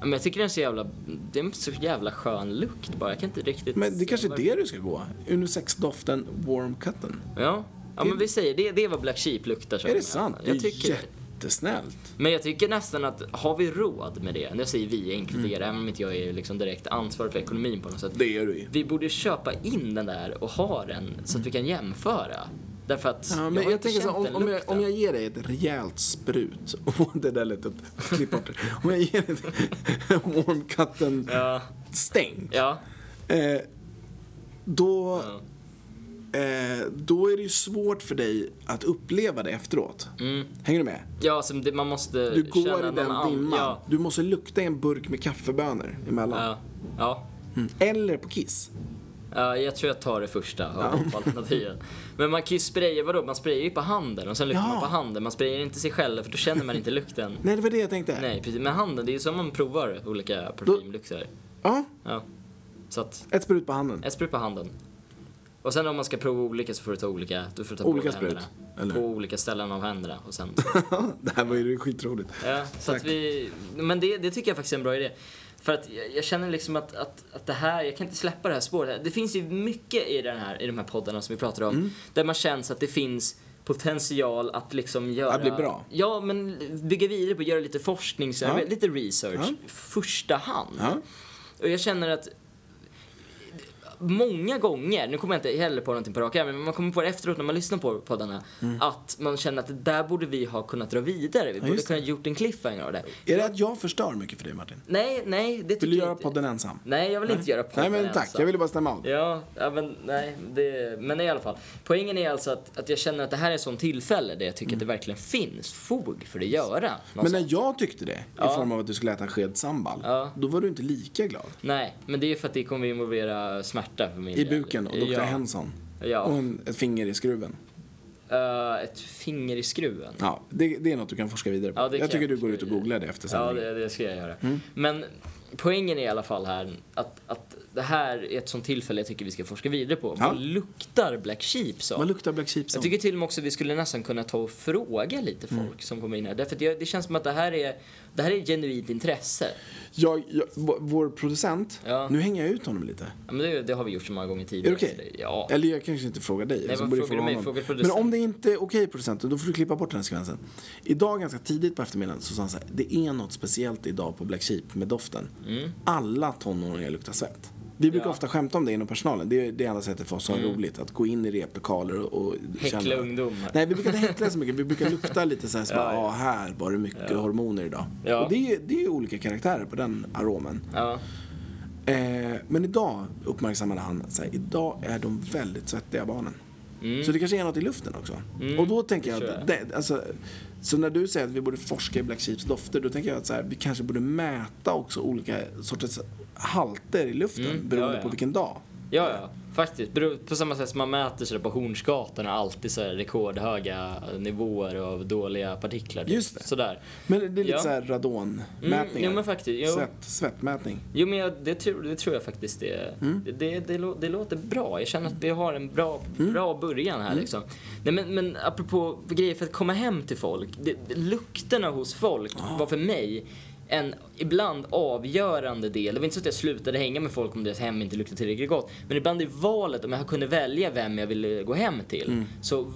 [SPEAKER 1] Ja, Men jag tycker den är så jävla, det är en så jävla skön lukt bara. Jag kan inte riktigt...
[SPEAKER 2] Men det
[SPEAKER 1] se
[SPEAKER 2] kanske är
[SPEAKER 1] varför.
[SPEAKER 2] det du ska gå? Unisex-doften warm cutten.
[SPEAKER 1] Ja. Ja men vi säger det, det är vad Black Sheep luktar som.
[SPEAKER 2] Är det sant?
[SPEAKER 1] Jag
[SPEAKER 2] det
[SPEAKER 1] tycker
[SPEAKER 2] är jättesnällt.
[SPEAKER 1] Men jag tycker nästan att, har vi råd med det? När jag säger vi, jag inkluderar,
[SPEAKER 2] Mm.
[SPEAKER 1] även om inte jag är liksom direkt ansvarig för ekonomin på något sätt.
[SPEAKER 2] Det är du ju.
[SPEAKER 1] Vi borde köpa in den där och ha den så att vi kan jämföra. Därför att
[SPEAKER 2] Mm. Ja,
[SPEAKER 1] jag
[SPEAKER 2] men
[SPEAKER 1] har
[SPEAKER 2] jag,
[SPEAKER 1] inte
[SPEAKER 2] tänker så,
[SPEAKER 1] känt
[SPEAKER 2] här, om,
[SPEAKER 1] den
[SPEAKER 2] om, jag,
[SPEAKER 1] lukten.
[SPEAKER 2] om jag ger dig ett rejält sprut, <laughs> och det där lät ett klipp bort det. Om jag ger dig ett warm cutten
[SPEAKER 1] Ja,
[SPEAKER 2] stänk,
[SPEAKER 1] ja,
[SPEAKER 2] eh, då,
[SPEAKER 1] ja.
[SPEAKER 2] eh, då är det ju svårt för dig att uppleva det efteråt.
[SPEAKER 1] Mm.
[SPEAKER 2] Hänger du med?
[SPEAKER 1] ja så det, man måste
[SPEAKER 2] Du går
[SPEAKER 1] typ, känna
[SPEAKER 2] i den
[SPEAKER 1] någon
[SPEAKER 2] dimman.
[SPEAKER 1] Ja,
[SPEAKER 2] Du måste lukta i en burk med kaffebönor emellan.
[SPEAKER 1] ja, ja.
[SPEAKER 2] Mm. Eller på Kiss.
[SPEAKER 1] Ja, jag tror jag tar det första av alternativen. Men man kan ju spraya, vadå? Man sprayar ju på handen och sen luktar
[SPEAKER 2] Ja.
[SPEAKER 1] man på handen. Man sprayar inte sig själv för då känner man inte lukten.
[SPEAKER 2] Nej, det var det jag tänkte.
[SPEAKER 1] Nej, precis. Men handen, det är ju som man provar olika parfymlukter.
[SPEAKER 2] Ja,
[SPEAKER 1] Ja. Så att,
[SPEAKER 2] ett sprut på handen.
[SPEAKER 1] ett sprut på handen. Och sen om man ska prova olika så får du ta olika, du får ta
[SPEAKER 2] Olika
[SPEAKER 1] båda
[SPEAKER 2] sprut,
[SPEAKER 1] händerna.
[SPEAKER 2] eller?
[SPEAKER 1] På olika ställen av händerna och sen
[SPEAKER 2] <laughs> det här var ju skitroligt.
[SPEAKER 1] Ja, så att vi, men det, det tycker jag faktiskt är en bra idé. För att jag, jag känner liksom att, att, att det här, jag kan inte släppa det här spåret. Det finns ju mycket i, den här, i de här poddarna som vi pratar om, där man känns att det finns potential att liksom göra...
[SPEAKER 2] Att bli bra.
[SPEAKER 1] Ja, men bygga vidare på, göra lite forskning, så här,
[SPEAKER 2] Ja.
[SPEAKER 1] lite research, i första hand.
[SPEAKER 2] Ja.
[SPEAKER 1] Och jag känner att många gånger, nu kommer jag inte heller på någonting på rak arm, men man kommer på det efteråt när man lyssnar på poddarna,
[SPEAKER 2] Mm.
[SPEAKER 1] att man känner att det där borde vi ha kunnat dra vidare. Vi borde
[SPEAKER 2] just det.
[SPEAKER 1] kunnat gjort en cliffhanger av det.
[SPEAKER 2] Är det att jag förstör mycket för dig, Martin?
[SPEAKER 1] Nej, nej, det tycker
[SPEAKER 2] Vill du
[SPEAKER 1] jag
[SPEAKER 2] göra
[SPEAKER 1] inte.
[SPEAKER 2] podden ensam?
[SPEAKER 1] Nej, jag vill inte göra podden alltså.
[SPEAKER 2] Nej, men tack.
[SPEAKER 1] ensam.
[SPEAKER 2] Jag ville bara stämma av.
[SPEAKER 1] Ja, ja, men nej, det, men i alla fall. Poängen är alltså att, att jag känner att det här är ett sånt tillfälle där jag tycker att det verkligen finns fog för att göra
[SPEAKER 2] Mm. Men
[SPEAKER 1] någonstans.
[SPEAKER 2] när jag tyckte det, i form av att du skulle äta en sked sambal,
[SPEAKER 1] Ja.
[SPEAKER 2] då var du inte lika glad.
[SPEAKER 1] Nej, men det är för att det kommer involvera smärta för min
[SPEAKER 2] I
[SPEAKER 1] del.
[SPEAKER 2] buken och lukta
[SPEAKER 1] ja.
[SPEAKER 2] Henson.
[SPEAKER 1] Ja.
[SPEAKER 2] Och en, ett finger i skruven.
[SPEAKER 1] Eh, ett finger i skruven.
[SPEAKER 2] Ja, det, det är något du kan forska vidare på.
[SPEAKER 1] Ja, det
[SPEAKER 2] jag
[SPEAKER 1] kan
[SPEAKER 2] tycker
[SPEAKER 1] jag
[SPEAKER 2] du går
[SPEAKER 1] forska
[SPEAKER 2] ut och
[SPEAKER 1] vidare.
[SPEAKER 2] googlar det efter Mm.
[SPEAKER 1] Ja,
[SPEAKER 2] sändningen.
[SPEAKER 1] det, det ska jag göra. Men poängen är i alla fall här att, att det här är ett sånt tillfälle jag tycker vi ska forska vidare på.
[SPEAKER 2] Ja.
[SPEAKER 1] Vad luktar Black Sheep så?
[SPEAKER 2] Vad luktar Black Sheep som? Mm.
[SPEAKER 1] Jag tycker till och med också att vi skulle nästan kunna ta och fråga lite folk som kommer in här. Därför att jag, det känns som att det här är, det här är ett genuint intresse.
[SPEAKER 2] Jag, jag, vår- vår producent,
[SPEAKER 1] Ja.
[SPEAKER 2] nu hänger jag ut honom lite.
[SPEAKER 1] Ja, men det, det har vi gjort så många gånger
[SPEAKER 2] Är
[SPEAKER 1] tidigare.
[SPEAKER 2] det okej?
[SPEAKER 1] så det- Ja.
[SPEAKER 2] Eller jag kanske inte frågar dig. jag
[SPEAKER 1] men
[SPEAKER 2] borde
[SPEAKER 1] frågar
[SPEAKER 2] fråga
[SPEAKER 1] du mig,
[SPEAKER 2] honom.
[SPEAKER 1] frågar
[SPEAKER 2] men
[SPEAKER 1] producenten.
[SPEAKER 2] om det inte är okej producenten, då får du klippa bort den här sekvensen. Idag ganska tidigt på eftermiddagen så sa han så här, det är något speciellt idag på Black Sheep med doften. Alla tonåringar luktar svett. Vi brukar
[SPEAKER 1] Mm. Ja. Mm.
[SPEAKER 2] ofta skämta om det inom personalen. Det är det enda sättet för oss att ha roligt. Att gå in i replokaler och, och
[SPEAKER 1] Häckla ungdomar.
[SPEAKER 2] Nej, vi brukar inte häckla så mycket. Vi brukar lukta lite så här, så bara, ah, här var det mycket hormoner idag.
[SPEAKER 1] Ja.
[SPEAKER 2] Och det är ju det är ju olika karaktärer på den aromen.
[SPEAKER 1] Ja.
[SPEAKER 2] Eh, men idag uppmärksammade han att så här, idag är de väldigt svettiga barnen. Så det kanske är något i luften också. och då tänker jag
[SPEAKER 1] Mm. det
[SPEAKER 2] att, det, alltså, så när du säger att vi borde forska i Black Sheeps dofter, då tänker jag att så här, vi kanske borde mäta också olika sorters halter i luften beroende
[SPEAKER 1] Mm. ja, ja.
[SPEAKER 2] på vilken dag.
[SPEAKER 1] Ja, ja, faktiskt. Beror- På samma sätt som man mäter sig på Hornsgatan och alltid så här rekordhöga nivåer av dåliga partiklar. typ.
[SPEAKER 2] Just det.
[SPEAKER 1] Sådär.
[SPEAKER 2] Men det är lite
[SPEAKER 1] Ja.
[SPEAKER 2] så här radonmätningar.
[SPEAKER 1] Mm, jo, men faktiskt. Jo.
[SPEAKER 2] Svett, svettmätning.
[SPEAKER 1] Jo, men jag, det, tror, det tror jag faktiskt det,
[SPEAKER 2] Mm.
[SPEAKER 1] det, det, det, lå- det låter bra. Jag känner att vi har en bra,
[SPEAKER 2] Mm.
[SPEAKER 1] bra början här liksom. Nej, men, men apropå grejer för att komma hem till folk. Det, det- lukterna hos folk var för mig en ibland avgörande del. Det var inte så att jag slutade hänga med folk om deras hem inte luktade tillräckligt gott. Men ibland i valet, om jag kunde välja vem jag ville gå hem till,
[SPEAKER 2] Mm.
[SPEAKER 1] så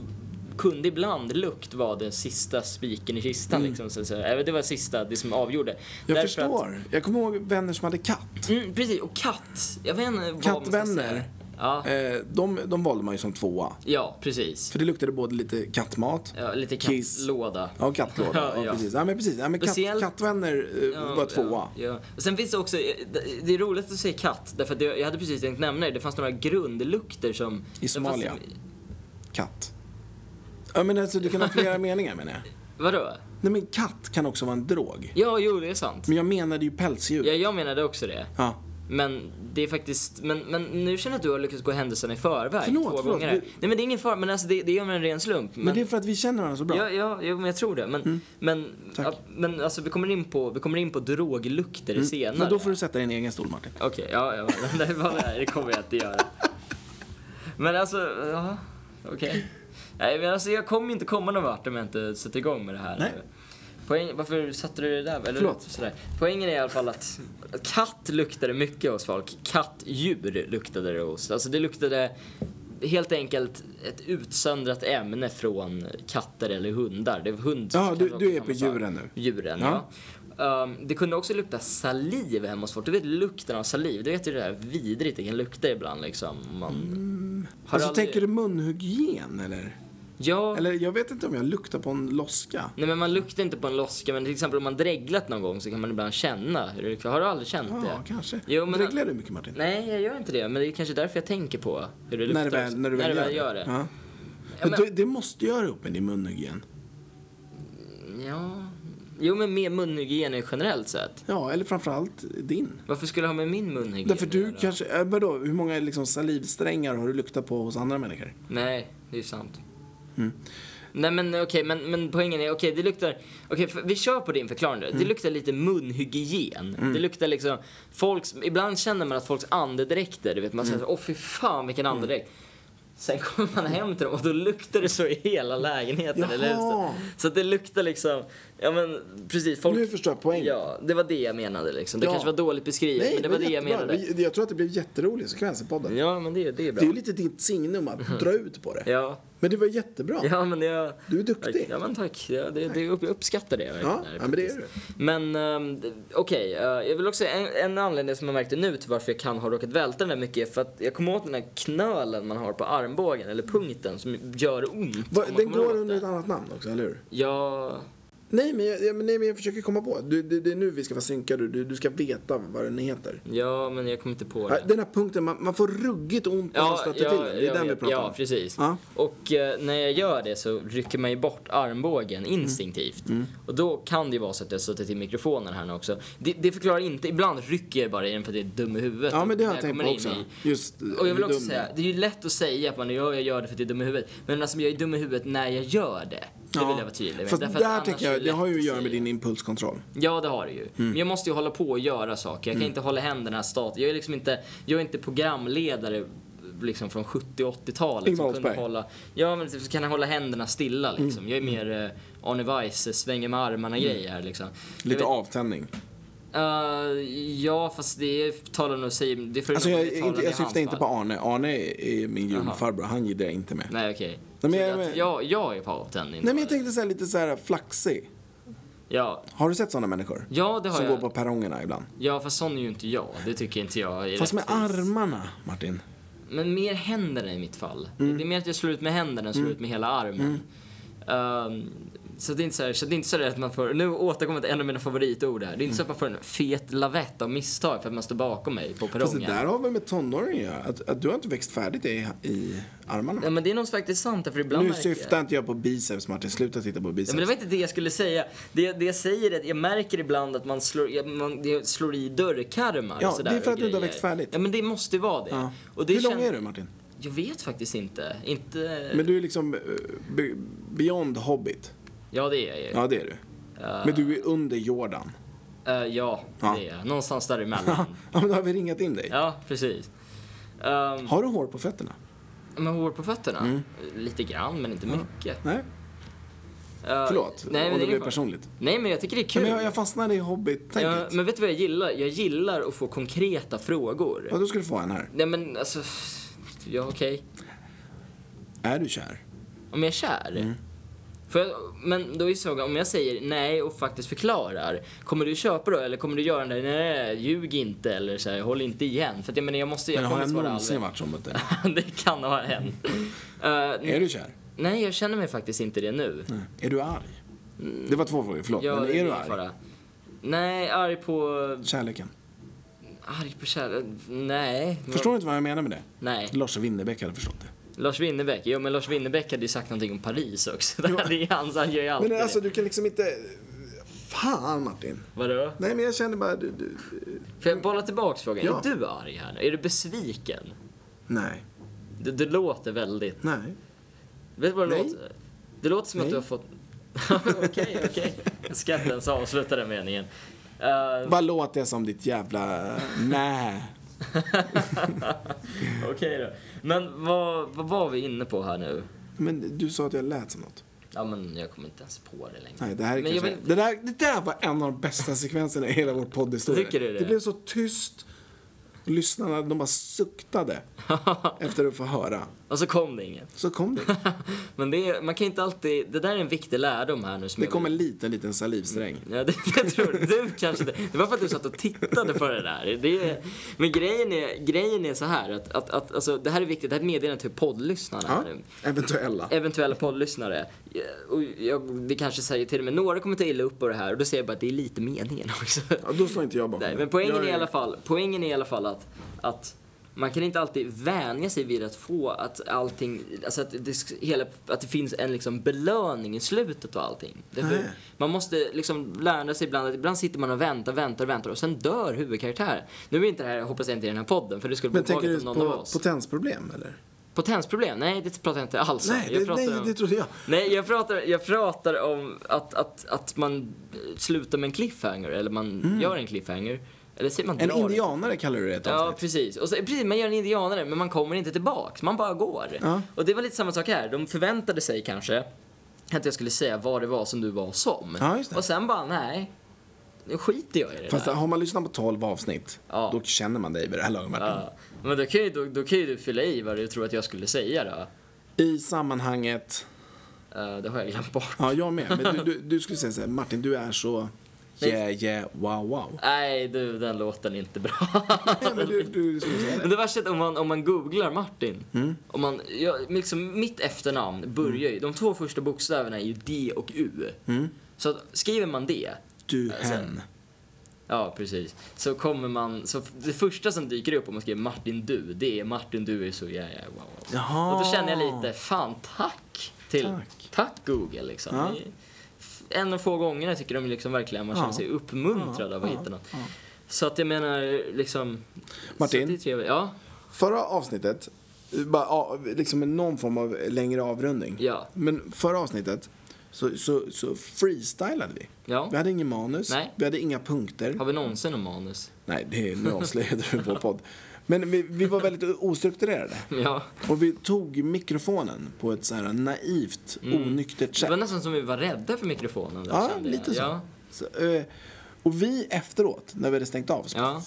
[SPEAKER 1] kunde ibland lukt vara den sista spiken i kistan. Liksom, så att säga. Även Det var sista, det som avgjorde.
[SPEAKER 2] Mm. Jag
[SPEAKER 1] Därför att-
[SPEAKER 2] förstår. Jag kommer ihåg vänner som hade katt.
[SPEAKER 1] Mm, precis, och katt. Jag vet inte vad man ska säga.
[SPEAKER 2] Kattvänner,
[SPEAKER 1] alltså. Ja,
[SPEAKER 2] eh, de, de valde man ju som tvåa.
[SPEAKER 1] ja precis.
[SPEAKER 2] För det luktade både lite kattmat,
[SPEAKER 1] Ja, lite
[SPEAKER 2] kiss.
[SPEAKER 1] kattlåda. <laughs>
[SPEAKER 2] Ja, kattlåda. Ja,
[SPEAKER 1] Ja, ja.
[SPEAKER 2] precis. Ja, men precis. Ja, men katt,
[SPEAKER 1] Speciellt-
[SPEAKER 2] Kattvänner eh, var tvåa.
[SPEAKER 1] Ja, ja. Och Sen finns det också, eh, det- det är roligt att du säger katt, därför att jag jag hade precis tänkt nämna det, det fanns några grundlukter som...
[SPEAKER 2] I Somalia.
[SPEAKER 1] Det fanns,
[SPEAKER 2] Katt. Ja, men alltså, det kan
[SPEAKER 1] <laughs>
[SPEAKER 2] ha flera meningar menar jag.
[SPEAKER 1] vadå?
[SPEAKER 2] Nej, men katt kan också vara en drog.
[SPEAKER 1] Ja, jo, det är sant.
[SPEAKER 2] Men jag menade ju pälsdjur.
[SPEAKER 1] Ja, jag menade också det.
[SPEAKER 2] Ja.
[SPEAKER 1] Men det är faktiskt, men, men nu känner jag att du har lyckats gå händelserna i förväg
[SPEAKER 2] Förlåt,
[SPEAKER 1] två
[SPEAKER 2] förlåt.
[SPEAKER 1] gånger här.
[SPEAKER 2] Det-
[SPEAKER 1] Nej men det är ingen fara, men alltså det, det är ju en ren slump.
[SPEAKER 2] Men det är för att vi känner varandra så bra. Mm.
[SPEAKER 1] Ja, ja, jo, men jag tror det. Men, men,
[SPEAKER 2] Tack.
[SPEAKER 1] ja, men alltså, vi, kommer in på, vi kommer in på droglukter senare.
[SPEAKER 2] Mm. Men då får du sätta din egen stol, Martin.
[SPEAKER 1] Okej, ja, <laughs> ja, det, var det, här, det kommer jag inte göra. Men alltså, ja, okej. Nej, men alltså jag kommer inte komma någon vart om jag inte sätter igång med det här.
[SPEAKER 2] Nej.
[SPEAKER 1] Poäng, varför satte du det där? Eller,
[SPEAKER 2] Förlåt.
[SPEAKER 1] Sådär. Poängen är i alla fall att katt luktade mycket hos folk. Kattdjur luktade det hos. Alltså det luktade helt enkelt ett utsöndrat ämne från katter eller hundar. Det är hund
[SPEAKER 2] Ja,
[SPEAKER 1] kan
[SPEAKER 2] du-
[SPEAKER 1] det också
[SPEAKER 2] du är på
[SPEAKER 1] samma sak.
[SPEAKER 2] djuren nu.
[SPEAKER 1] Djuren, ja.
[SPEAKER 2] Ja.
[SPEAKER 1] Ehm, det kunde också lukta saliv hemma hos folk. Du vet lukten av saliv. Du vet ju det där vidrigt det kan lukta ibland liksom. Man... Har
[SPEAKER 2] Alltså,
[SPEAKER 1] aldrig-
[SPEAKER 2] tänker du munhygien eller?
[SPEAKER 1] Ja.
[SPEAKER 2] Eller jag vet inte om jag luktar på en loska.
[SPEAKER 1] Nej men man luktar inte på en loska men till exempel om man dreglat någon gång så kan man ibland känna hur det luktar. Har du aldrig känt
[SPEAKER 2] Ja,
[SPEAKER 1] det?
[SPEAKER 2] kanske.
[SPEAKER 1] Jo, men-
[SPEAKER 2] Dreglar du mycket Martin?
[SPEAKER 1] Nej jag gör inte det men det är kanske därför jag tänker på hur det luktar.
[SPEAKER 2] när, du väl, när du väl gör,
[SPEAKER 1] det.
[SPEAKER 2] Ja.
[SPEAKER 1] Ja,
[SPEAKER 2] Men...
[SPEAKER 1] men-
[SPEAKER 2] du- Det måste göra upp med din munhygien.
[SPEAKER 1] Ja. Jo men med munhygien generellt sett.
[SPEAKER 2] Ja, eller framförallt din.
[SPEAKER 1] Varför skulle jag ha med min munhygien
[SPEAKER 2] Därför
[SPEAKER 1] att
[SPEAKER 2] du
[SPEAKER 1] göra?
[SPEAKER 2] kanske, eh, vadå, hur många liksom salivsträngar har du luktat på hos andra människor?
[SPEAKER 1] Nej, det är sant.
[SPEAKER 2] Mm.
[SPEAKER 1] Nej men okej, men, men poängen är, okej det luktar, okej för- vi kör på din förklaring nu.
[SPEAKER 2] Mm.
[SPEAKER 1] Det luktar lite munhygien. Det luktar liksom, folks, ibland känner man att folks andedräkter, du vet man
[SPEAKER 2] Mm.
[SPEAKER 1] säger åh fy fan vilken andedräkt. Sen kommer man hem till dem och då luktar det så i hela lägenheten eller
[SPEAKER 2] Jaha.
[SPEAKER 1] huset. Så att det luktar liksom, ja men precis folk.
[SPEAKER 2] Nu förstår jag poängen.
[SPEAKER 1] Ja, det var det jag menade liksom. Det
[SPEAKER 2] Ja.
[SPEAKER 1] kanske var dåligt beskrivet men det var det jag
[SPEAKER 2] jättebra.
[SPEAKER 1] menade.
[SPEAKER 2] Vi- Jag tror att det blev en jätterolig sekvens i podden.
[SPEAKER 1] Ja men det, det är bra.
[SPEAKER 2] Det är ju lite ditt signum att dra ut på det.
[SPEAKER 1] Ja.
[SPEAKER 2] Men det var jättebra.
[SPEAKER 1] Ja, men jag,
[SPEAKER 2] Du är duktig.
[SPEAKER 1] Ja, men tack. Ja, det, det, jag uppskattar det. verkligen.
[SPEAKER 2] Ja, ja, men det är du.
[SPEAKER 1] Men ehm, d- okej, eh, jag vill också, en, en anledning som jag märkte nu till varför jag kan ha råkat välta den där mycket är för att jag kommer åt den där knölen man har på armbågen, eller punkten, som gör ont. om
[SPEAKER 2] Va,
[SPEAKER 1] man
[SPEAKER 2] den
[SPEAKER 1] kommer
[SPEAKER 2] går
[SPEAKER 1] åt
[SPEAKER 2] under ett
[SPEAKER 1] det.
[SPEAKER 2] annat namn också, eller hur?
[SPEAKER 1] Ja,
[SPEAKER 2] Nej, men jag, ja, men nej, men jag försöker komma på. Du, det, det är nu vi ska vara synkade. Du, du ska veta vad den heter.
[SPEAKER 1] ja, men jag kommer inte på
[SPEAKER 2] Ja,
[SPEAKER 1] det.
[SPEAKER 2] Den här punkten, man, man får ruggigt ont när man stöter till den. Det är
[SPEAKER 1] jag
[SPEAKER 2] den vi
[SPEAKER 1] vet.
[SPEAKER 2] pratar
[SPEAKER 1] Ja,
[SPEAKER 2] om.
[SPEAKER 1] precis.
[SPEAKER 2] Ja.
[SPEAKER 1] Och eh, när jag gör det så rycker man ju bort armbågen
[SPEAKER 2] Mm.
[SPEAKER 1] instinktivt. Och då kan det ju vara så att jag suttit till mikrofonen här nu också. Det, det förklarar inte, ibland rycker jag bara i den för att jag är dum i huvudet.
[SPEAKER 2] Ja, men det har
[SPEAKER 1] När
[SPEAKER 2] jag tänkt på
[SPEAKER 1] kommer in
[SPEAKER 2] också.
[SPEAKER 1] i-
[SPEAKER 2] Just eh,
[SPEAKER 1] och jag
[SPEAKER 2] hur
[SPEAKER 1] vill också
[SPEAKER 2] dum
[SPEAKER 1] säga,
[SPEAKER 2] den är.
[SPEAKER 1] det är ju lätt att säga att man ja, jag gör det för att jag är dum i huvudet. Men alltså jag är dum i huvudet när jag gör det. Det vill jag vara tydlig med.
[SPEAKER 2] Fast
[SPEAKER 1] Därför att
[SPEAKER 2] där
[SPEAKER 1] annars
[SPEAKER 2] tänker
[SPEAKER 1] är
[SPEAKER 2] jag, det
[SPEAKER 1] lätt
[SPEAKER 2] har ju att göra
[SPEAKER 1] säga.
[SPEAKER 2] med din impulskontroll.
[SPEAKER 1] Ja, det har det ju.
[SPEAKER 2] Mm.
[SPEAKER 1] Men jag måste ju hålla på och göra saker. Jag kan inte hålla händerna stadigt. Jag är liksom inte, jag är inte programledare liksom från 70 och 80-talet.
[SPEAKER 2] Ingmar
[SPEAKER 1] som kunde
[SPEAKER 2] Oldsberg.
[SPEAKER 1] hålla, Ja, men så kan jag hålla händerna stilla
[SPEAKER 2] Mm.
[SPEAKER 1] liksom. Jag är mer eh, Arne Weise, svänger med armarna grejer här liksom. Jag
[SPEAKER 2] Lite
[SPEAKER 1] vet-
[SPEAKER 2] avtändning.
[SPEAKER 1] Eh, ja, fast det är- talar nog sig... Det är
[SPEAKER 2] Alltså jag,
[SPEAKER 1] det talar
[SPEAKER 2] inte,
[SPEAKER 1] i
[SPEAKER 2] jag
[SPEAKER 1] hans
[SPEAKER 2] syftar inte
[SPEAKER 1] fall.
[SPEAKER 2] på Arne. Arne är min julfarbror. Han gillar jag inte med. Nej,
[SPEAKER 1] Nej, okej.
[SPEAKER 2] Nej, men
[SPEAKER 1] Så
[SPEAKER 2] jag-
[SPEAKER 1] att jag, jag är på avtändning.
[SPEAKER 2] men jag tänkte så här, lite så här flaxig.
[SPEAKER 1] Ja,
[SPEAKER 2] Har du sett sådana människor?
[SPEAKER 1] ja, det har
[SPEAKER 2] Som
[SPEAKER 1] jag.
[SPEAKER 2] går på perrongerna ibland.
[SPEAKER 1] Ja, fast sån är ju inte jag. Det tycker inte jag är
[SPEAKER 2] Fast med
[SPEAKER 1] rättvist.
[SPEAKER 2] armarna, Martin.
[SPEAKER 1] Men mer händerna i mitt fall.
[SPEAKER 2] Mm.
[SPEAKER 1] Det är mer att jag slår ut med händerna än slår ut med hela armen.
[SPEAKER 2] Mm.
[SPEAKER 1] Ehm, så det är inte så, här, så det är inte så där att man får, nu återkommer jag till en av mina favoritord här. Det är inte så att
[SPEAKER 2] Mm.
[SPEAKER 1] man får en fet lavett av misstag för att man står bakom mig på
[SPEAKER 2] Fast det
[SPEAKER 1] perrongen.
[SPEAKER 2] där har väl med tonåringen att göra? Att, att du har inte växt färdigt i, i armarna.
[SPEAKER 1] Ja men det är nog faktiskt sant för ibland
[SPEAKER 2] nu
[SPEAKER 1] märker jag-
[SPEAKER 2] syftar inte jag på biceps, Martin. Sluta titta på biceps.
[SPEAKER 1] Ja, men det var inte det jag skulle säga. Det, det jag säger är att jag märker ibland att man slår, ja, man, det slår i dörrkarmar
[SPEAKER 2] Ja,
[SPEAKER 1] och sådär
[SPEAKER 2] det är för
[SPEAKER 1] och
[SPEAKER 2] att du inte har
[SPEAKER 1] grejer.
[SPEAKER 2] växt färdigt.
[SPEAKER 1] Ja, men det måste vara det.
[SPEAKER 2] Ja.
[SPEAKER 1] Och det
[SPEAKER 2] Hur lång
[SPEAKER 1] kän- Eh.
[SPEAKER 2] är du, Martin?
[SPEAKER 1] Jag vet faktiskt inte. Inte...
[SPEAKER 2] Men du är liksom eh, be, beyond hobbit.
[SPEAKER 1] Ja, det är jag ju.
[SPEAKER 2] Ja, det är du. Men du är under Jordan.
[SPEAKER 1] Eh, ja,
[SPEAKER 2] Ja.
[SPEAKER 1] det är jag. Någonstans
[SPEAKER 2] <laughs>
[SPEAKER 1] däremellan.
[SPEAKER 2] Ja, men då har vi ringat in dig.
[SPEAKER 1] ja, precis. Ehm,
[SPEAKER 2] Har du hår på fötterna?
[SPEAKER 1] men hår på fötterna?
[SPEAKER 2] Mm.
[SPEAKER 1] Lite grann, men inte mycket.
[SPEAKER 2] Nej,
[SPEAKER 1] Eh,
[SPEAKER 2] förlåt.
[SPEAKER 1] nej,
[SPEAKER 2] om
[SPEAKER 1] men
[SPEAKER 2] det
[SPEAKER 1] är
[SPEAKER 2] blev
[SPEAKER 1] bra.
[SPEAKER 2] personligt.
[SPEAKER 1] Nej, men jag tycker det är
[SPEAKER 2] Nej,
[SPEAKER 1] kul.
[SPEAKER 2] men jag, jag fastnade i
[SPEAKER 1] Ja,
[SPEAKER 2] hobbit-tänket. Ja,
[SPEAKER 1] men vet du vad jag gillar? Jag gillar att få konkreta frågor.
[SPEAKER 2] då ska du få en här.
[SPEAKER 1] Nej, men alltså... Ja, okej.
[SPEAKER 2] Är du kär?
[SPEAKER 1] Om jag är kär?
[SPEAKER 2] Mm.
[SPEAKER 1] Får jag, men då är frågan, om jag säger nej och faktiskt förklarar, kommer du köpa då eller kommer du göra den där nej, ljug inte eller så här, håll inte igen? För att jag menar, jag måste, jag
[SPEAKER 2] Men har
[SPEAKER 1] kommer
[SPEAKER 2] jag
[SPEAKER 1] svara
[SPEAKER 2] någonsin
[SPEAKER 1] allvarligt.
[SPEAKER 2] varit så mot dig?
[SPEAKER 1] <laughs> det kan ha hänt. Eh,
[SPEAKER 2] Är du kär?
[SPEAKER 1] Nej, jag känner mig faktiskt inte det nu.
[SPEAKER 2] Nej. Är du arg?
[SPEAKER 1] Mm.
[SPEAKER 2] Det var två frågor, förlåt.
[SPEAKER 1] Jag,
[SPEAKER 2] men är du arg?
[SPEAKER 1] bara- Nej, arg på...
[SPEAKER 2] Kärleken.
[SPEAKER 1] Arg på kärlek? Nej.
[SPEAKER 2] Förstår du inte vad jag menar med det?
[SPEAKER 1] Nej.
[SPEAKER 2] Lars Winnerbäck hade förstått det.
[SPEAKER 1] Lars Winnerbäck. Jo, men Lars Winnerbäck hade ju sagt någonting om Paris också. <laughs> det är han, så han gör ju alltid
[SPEAKER 2] Men alltså,
[SPEAKER 1] det.
[SPEAKER 2] du kan liksom inte... Fan, Martin.
[SPEAKER 1] Vadå?
[SPEAKER 2] Nej, men jag känner bara... Du, du...
[SPEAKER 1] Får jag bolla tillbaks frågan?
[SPEAKER 2] Ja.
[SPEAKER 1] Är du arg här nu? Är du besviken?
[SPEAKER 2] Nej.
[SPEAKER 1] Du, du låter väldigt...
[SPEAKER 2] Nej.
[SPEAKER 1] Vet du vad det
[SPEAKER 2] Nej.
[SPEAKER 1] låter? Det låter som att
[SPEAKER 2] Nej.
[SPEAKER 1] du har fått... <laughs> Okej, okej. Jag ska inte ens avsluta den meningen. Eh,
[SPEAKER 2] Bara låt det som ditt jävla...
[SPEAKER 1] <laughs>
[SPEAKER 2] Nej.
[SPEAKER 1] okej då. Men vad, vad var vi inne på här nu?
[SPEAKER 2] Men du sa att jag lät som något.
[SPEAKER 1] Ja, men jag kommer inte ens på det längre.
[SPEAKER 2] Nej, det, här är
[SPEAKER 1] men jag
[SPEAKER 2] kanske,
[SPEAKER 1] vet-
[SPEAKER 2] det, där, det där var en av de bästa sekvenserna i hela vår poddhistoria.
[SPEAKER 1] Tycker du det?
[SPEAKER 2] det blev så tyst. Lyssnarna, de
[SPEAKER 1] <laughs>
[SPEAKER 2] bara suktade efter att få höra.
[SPEAKER 1] Och så kom det inget.
[SPEAKER 2] Så kom det.
[SPEAKER 1] Men det är, man kan inte alltid, det där är en viktig lärdom här nu som
[SPEAKER 2] Det
[SPEAKER 1] jag
[SPEAKER 2] kom en liten, liten salivsträng.
[SPEAKER 1] Ja, det, <laughs> det tror jag. du kanske inte. Det var för att du satt och tittade på det där. Det är, men grejen är, grejen är så här att, att, att alltså, det här är viktigt, det här är ett meddelande till poddlyssnarna.
[SPEAKER 2] Ja,
[SPEAKER 1] här.
[SPEAKER 2] eventuella.
[SPEAKER 1] Eventuella poddlyssnare. Ja, Och jag, vi kanske säger till men några kommer ta illa upp på det här och då säger jag bara att det är lite meningen också.
[SPEAKER 2] Ja, då står inte jag bakom
[SPEAKER 1] Nej,
[SPEAKER 2] det.
[SPEAKER 1] men poängen
[SPEAKER 2] Jag
[SPEAKER 1] är i alla fall, poängen är i alla fall att, att man kan inte alltid vänja sig vid att få att allting, alltså att det, sk- hela, att det finns en liksom belöning i slutet och allting. Därför
[SPEAKER 2] Nej.
[SPEAKER 1] man måste liksom lära sig ibland att ibland sitter man och väntar, väntar, väntar och sen dör huvudkaraktären. Nu är inte det här, hoppas jag inte i den här podden för det skulle bli
[SPEAKER 2] Men tänker
[SPEAKER 1] påtagligt
[SPEAKER 2] du
[SPEAKER 1] om någon av
[SPEAKER 2] på
[SPEAKER 1] oss.
[SPEAKER 2] potensproblem eller?
[SPEAKER 1] Potensproblem? Nej, det pratar jag inte alls om.
[SPEAKER 2] Nej,
[SPEAKER 1] jag
[SPEAKER 2] det,
[SPEAKER 1] pratar
[SPEAKER 2] nej
[SPEAKER 1] om...
[SPEAKER 2] det trodde jag.
[SPEAKER 1] Nej, jag pratar, jag pratar om att, att, att man slutar med en cliffhanger, eller man gör en cliffhanger. Eller säger man
[SPEAKER 2] Mm. En
[SPEAKER 1] drar
[SPEAKER 2] indianare kallar du det i ett
[SPEAKER 1] liksom. Ja,
[SPEAKER 2] avsnitt.
[SPEAKER 1] precis. Och så, precis. Man gör en indianare, men man kommer inte tillbaks. Man bara går.
[SPEAKER 2] Ja.
[SPEAKER 1] Och det var lite samma sak här. De förväntade sig kanske att jag skulle säga vad det var som du var som.
[SPEAKER 2] Ja, just det.
[SPEAKER 1] Och sen bara, nej. Nu skiter jag i det
[SPEAKER 2] Fast
[SPEAKER 1] där.
[SPEAKER 2] har man lyssnat på 12 avsnitt,
[SPEAKER 1] Ja.
[SPEAKER 2] då känner man dig vid det här laget, Martin.
[SPEAKER 1] Ja. Men då kan, ju, då, då kan ju du fylla i vad du tror att jag skulle säga då.
[SPEAKER 2] I sammanhanget,
[SPEAKER 1] Eh, det har jag glömt
[SPEAKER 2] <laughs>
[SPEAKER 1] bort.
[SPEAKER 2] ja jag med, men du, du, du skulle säga så här, Martin du är så yeah yeah wow wow.
[SPEAKER 1] Nej, du, den låten är inte bra.
[SPEAKER 2] Nej, men du, du skulle säga det.
[SPEAKER 1] Men det värsta är att om man, om man googlar Martin,
[SPEAKER 2] Mm.
[SPEAKER 1] om man, ja, liksom, mitt efternamn börjar ju, de två första bokstäverna är ju D och U.
[SPEAKER 2] Mm.
[SPEAKER 1] Så att, skriver man det,
[SPEAKER 2] Du
[SPEAKER 1] Alltså,
[SPEAKER 2] hen.
[SPEAKER 1] ja precis, så kommer man, så f- det första som dyker upp om man skriver Martin du, det är Martin du är så ja ja wow. wow.
[SPEAKER 2] Jaha.
[SPEAKER 1] Och då känner jag lite, fan tack till,
[SPEAKER 2] Tack.
[SPEAKER 1] tack, Google liksom.
[SPEAKER 2] Ja.
[SPEAKER 1] Det är f- En och få gångerna tycker de liksom verkligen man
[SPEAKER 2] Ja.
[SPEAKER 1] känner sig uppmuntrad av att
[SPEAKER 2] Ja,
[SPEAKER 1] hitta något. Så att jag menar liksom...
[SPEAKER 2] Martin?
[SPEAKER 1] så det är trevligt. ja.
[SPEAKER 2] Förra avsnittet, bara, ja, liksom med någon form av längre avrundning.
[SPEAKER 1] Ja.
[SPEAKER 2] Men förra avsnittet så, så, så freestylade vi.
[SPEAKER 1] Ja.
[SPEAKER 2] Vi hade ingen manus,
[SPEAKER 1] Nej.
[SPEAKER 2] vi hade inga punkter.
[SPEAKER 1] Har vi någonsin om manus? <laughs>
[SPEAKER 2] Nej, det är, nu avslöjade du vår podd. Men vi, vi var väldigt ostrukturerade.
[SPEAKER 1] Ja.
[SPEAKER 2] Och vi tog mikrofonen på ett så här naivt, onyktert
[SPEAKER 1] Mm. Det
[SPEAKER 2] sätt.
[SPEAKER 1] var nästan som vi var rädda för mikrofonen. där,
[SPEAKER 2] Ja,
[SPEAKER 1] kände jag.
[SPEAKER 2] lite så.
[SPEAKER 1] Ja.
[SPEAKER 2] så eh, och vi efteråt, när vi hade stängt av, så
[SPEAKER 1] Ja.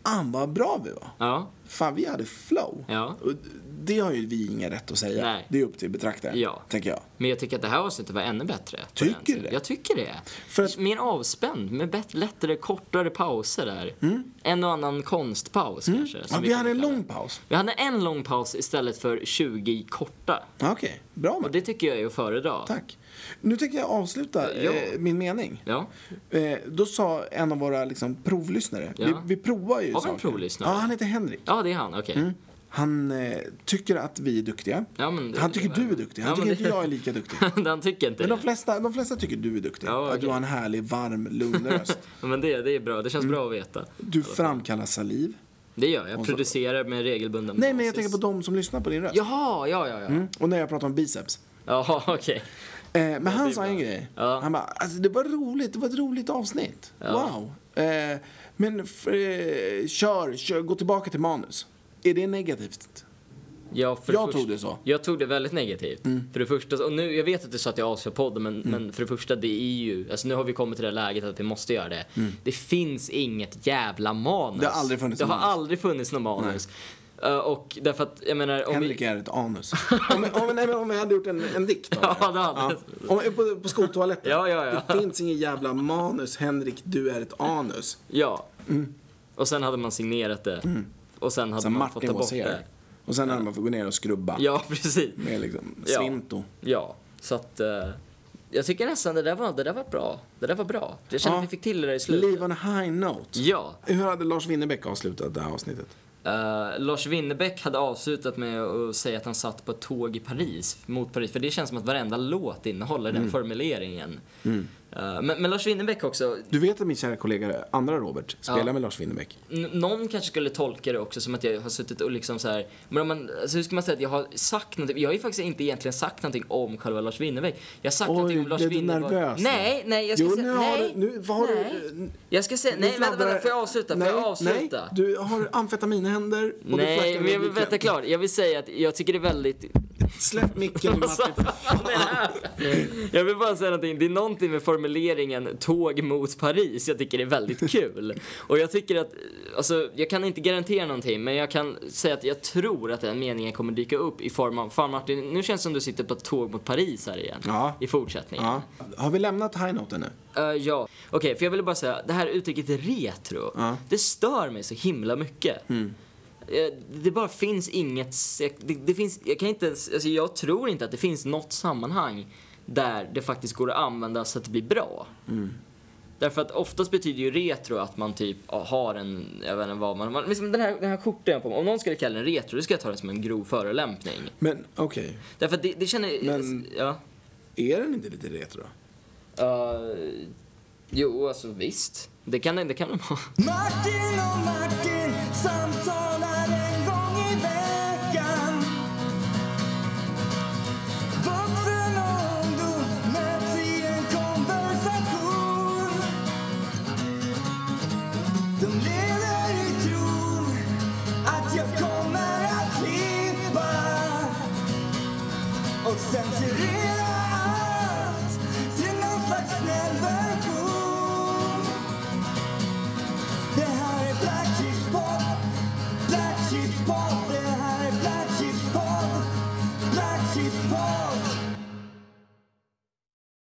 [SPEAKER 2] fan vad bra vi var.
[SPEAKER 1] Ja.
[SPEAKER 2] Fan, vi hade flow.
[SPEAKER 1] Ja.
[SPEAKER 2] Och det har ju vi ingen rätt att säga.
[SPEAKER 1] Nej.
[SPEAKER 2] Det är upp till betraktaren,
[SPEAKER 1] Ja.
[SPEAKER 2] tänker jag.
[SPEAKER 1] Men jag tycker att det här avsnittet var ännu bättre. på
[SPEAKER 2] Tycker
[SPEAKER 1] den tiden.
[SPEAKER 2] du det?
[SPEAKER 1] Jag tycker det.
[SPEAKER 2] För att-
[SPEAKER 1] Mer avspänd, med bett, lättare, kortare pauser där. En och annan konstpaus kanske. som
[SPEAKER 2] Mm. Ja, vi
[SPEAKER 1] kan
[SPEAKER 2] hade en
[SPEAKER 1] kalla
[SPEAKER 2] lång
[SPEAKER 1] det.
[SPEAKER 2] paus.
[SPEAKER 1] Vi hade en lång paus istället för 20 korta.
[SPEAKER 2] Ja, Okej, bra
[SPEAKER 1] Och
[SPEAKER 2] Martin.
[SPEAKER 1] det tycker jag är att föredra.
[SPEAKER 2] Tack. Nu tänker jag avsluta
[SPEAKER 1] Ja.
[SPEAKER 2] eh, min mening.
[SPEAKER 1] Ja.
[SPEAKER 2] Eh, då sa en av våra liksom, provlyssnare,
[SPEAKER 1] Ja.
[SPEAKER 2] vi, vi provar ju
[SPEAKER 1] Har vi en
[SPEAKER 2] saker.
[SPEAKER 1] provlyssnare?
[SPEAKER 2] Ja, han heter Henrik.
[SPEAKER 1] ja, det är han. Okej.
[SPEAKER 2] Mm. Han eh, tycker att vi är duktiga.
[SPEAKER 1] Ja, men det-
[SPEAKER 2] han tycker du är duktig. Han
[SPEAKER 1] Ja, men
[SPEAKER 2] tycker inte
[SPEAKER 1] det-
[SPEAKER 2] jag är lika
[SPEAKER 1] <laughs> <laughs>
[SPEAKER 2] duktig.
[SPEAKER 1] han tycker inte
[SPEAKER 2] Men
[SPEAKER 1] <laughs>
[SPEAKER 2] de
[SPEAKER 1] det.
[SPEAKER 2] flesta, de flesta tycker du är duktig.
[SPEAKER 1] Ja,
[SPEAKER 2] Att du
[SPEAKER 1] okej.
[SPEAKER 2] har en härlig, varm, lugn
[SPEAKER 1] <laughs>
[SPEAKER 2] röst.
[SPEAKER 1] Men det, det är bra. Det känns
[SPEAKER 2] Mm.
[SPEAKER 1] bra att veta.
[SPEAKER 2] Du framkallar saliv.
[SPEAKER 1] Det gör jag. Jag
[SPEAKER 2] Och så-
[SPEAKER 1] producerar med regelbunden
[SPEAKER 2] Nej, men jag
[SPEAKER 1] basis.
[SPEAKER 2] tänker på de som lyssnar på din röst.
[SPEAKER 1] Jaha, ja, ja, ja.
[SPEAKER 2] Mm. Och när jag pratar om biceps.
[SPEAKER 1] Jaha, <laughs> okej.
[SPEAKER 2] Eh, men han sa
[SPEAKER 1] bra.
[SPEAKER 2] en grej.
[SPEAKER 1] Ja.
[SPEAKER 2] Han bara, alltså det var roligt, det var ett roligt avsnitt. Wow. Eh, men f- eh, kör, kör, gå tillbaka till manus. Är det negativt?
[SPEAKER 1] Jag, för
[SPEAKER 2] Jag
[SPEAKER 1] först-
[SPEAKER 2] tog det så. Mm.
[SPEAKER 1] Jag tog det väldigt negativt. För det första, och nu, jag vet att du sa att jag avslöjar podden, men, men för det första, det är ju, alltså nu har vi kommit till det läget att vi måste göra det. Det finns inget jävla manus.
[SPEAKER 2] Mm. Det har aldrig funnits
[SPEAKER 1] Det
[SPEAKER 2] något
[SPEAKER 1] har
[SPEAKER 2] manus.
[SPEAKER 1] aldrig funnits något manus. Eh, och därför att, jag menar, om vi,
[SPEAKER 2] Henrik är
[SPEAKER 1] <laughs>
[SPEAKER 2] ett anus. om, om, nej, men om jag hade gjort en, en dikt av
[SPEAKER 1] Ja, det hade
[SPEAKER 2] Om, jag- på, på skoltoaletten.
[SPEAKER 1] Ja, ja, ja.
[SPEAKER 2] Det finns ingen jävla manus, Henrik, du är ett anus.
[SPEAKER 1] ja. Och sen hade man signerat det. Och sen hade
[SPEAKER 2] Så
[SPEAKER 1] man fått
[SPEAKER 2] Mm. Martin
[SPEAKER 1] ta
[SPEAKER 2] var
[SPEAKER 1] bort
[SPEAKER 2] ser.
[SPEAKER 1] det.
[SPEAKER 2] Och sen hade man fått gå ner och skrubba.
[SPEAKER 1] Ja, <laughs> precis.
[SPEAKER 2] Med liksom
[SPEAKER 1] Ja.
[SPEAKER 2] svinto.
[SPEAKER 1] Ja, så att eh, jag tycker nästan det där var, det där var bra. Det där var bra. Jag känner
[SPEAKER 2] Ja.
[SPEAKER 1] att vi fick till det där i slutet.
[SPEAKER 2] Leave on a high note.
[SPEAKER 1] Ja.
[SPEAKER 2] Hur hade Lars Winnerbäck avslutat det här avsnittet?
[SPEAKER 1] Eh, Lars Winnerbäck hade avslutat med att säga att han satt på ett tåg i Paris, mot Paris, för det känns som att varenda låt innehåller
[SPEAKER 2] Mm.
[SPEAKER 1] den formuleringen. Eh, men, men Lars Winnerbäck också,
[SPEAKER 2] Du vet att min kära kollega, andra Robert, spelar
[SPEAKER 1] Ja.
[SPEAKER 2] med Lars Winnerbäck?
[SPEAKER 1] n- någon kanske skulle tolka det också som att jag har suttit och liksom så här, men om man, alltså hur ska man säga att jag har sagt någonting, jag har ju faktiskt inte egentligen sagt någonting om själva Lars Winnerbäck. Jag har sagt
[SPEAKER 2] Oj,
[SPEAKER 1] någonting om Lars
[SPEAKER 2] blev du
[SPEAKER 1] Winnerbäck.
[SPEAKER 2] nervös nu?
[SPEAKER 1] Nej, nej, jag ska
[SPEAKER 2] Jo,
[SPEAKER 1] säga,
[SPEAKER 2] nu har
[SPEAKER 1] nej,
[SPEAKER 2] du- nu- vad har du-
[SPEAKER 1] nej. Jag ska säga,
[SPEAKER 2] Nu
[SPEAKER 1] nej, vänta,
[SPEAKER 2] fladdrar-
[SPEAKER 1] vänta, får jag avsluta? Får
[SPEAKER 2] nej,
[SPEAKER 1] jag avsluta?
[SPEAKER 2] Nej, du har amfetaminhänder och du flackar
[SPEAKER 1] Nej, men
[SPEAKER 2] med
[SPEAKER 1] jag vill
[SPEAKER 2] blicken.
[SPEAKER 1] veta klart. Jag vill säga att jag tycker det är väldigt...
[SPEAKER 2] Släpp micken
[SPEAKER 1] <laughs>
[SPEAKER 2] nu
[SPEAKER 1] Alltså.
[SPEAKER 2] Matti. för Alltså, fan.
[SPEAKER 1] typ. Jag vill bara säga någonting. Det är någonting med formuleringen tåg mot Paris jag tycker är väldigt kul. Och jag tycker att, alltså jag kan inte garantera någonting men jag kan säga att jag tror att den meningen kommer dyka upp i form av, fan Martin, nu känns det som du sitter på ett tåg mot Paris här igen.
[SPEAKER 2] Ja.
[SPEAKER 1] I fortsättningen.
[SPEAKER 2] Ja. Har vi lämnat high note nu?
[SPEAKER 1] Eh, ja, okej, för jag ville bara säga, det här uttrycket retro, det stör mig så himla mycket. Eh, Det bara finns inget, sek- det, det finns, jag kan inte ens, alltså jag tror inte att det finns något sammanhang där det faktiskt går att använda så att det blir bra. Därför att oftast betyder ju retro att man typ ja, har en, jag vet inte vad man, man liksom den, här, den här skjortan jag har på mig, om någon skulle kalla den retro, då ska jag ta den som en grov förolämpning.
[SPEAKER 2] Men okej,
[SPEAKER 1] Därför att det, det känner,
[SPEAKER 2] Men-
[SPEAKER 1] ja.
[SPEAKER 2] är den inte lite retro?
[SPEAKER 1] Eh, jo, alltså visst. Det kan det kan den vara.
[SPEAKER 3] Martin och Martin sa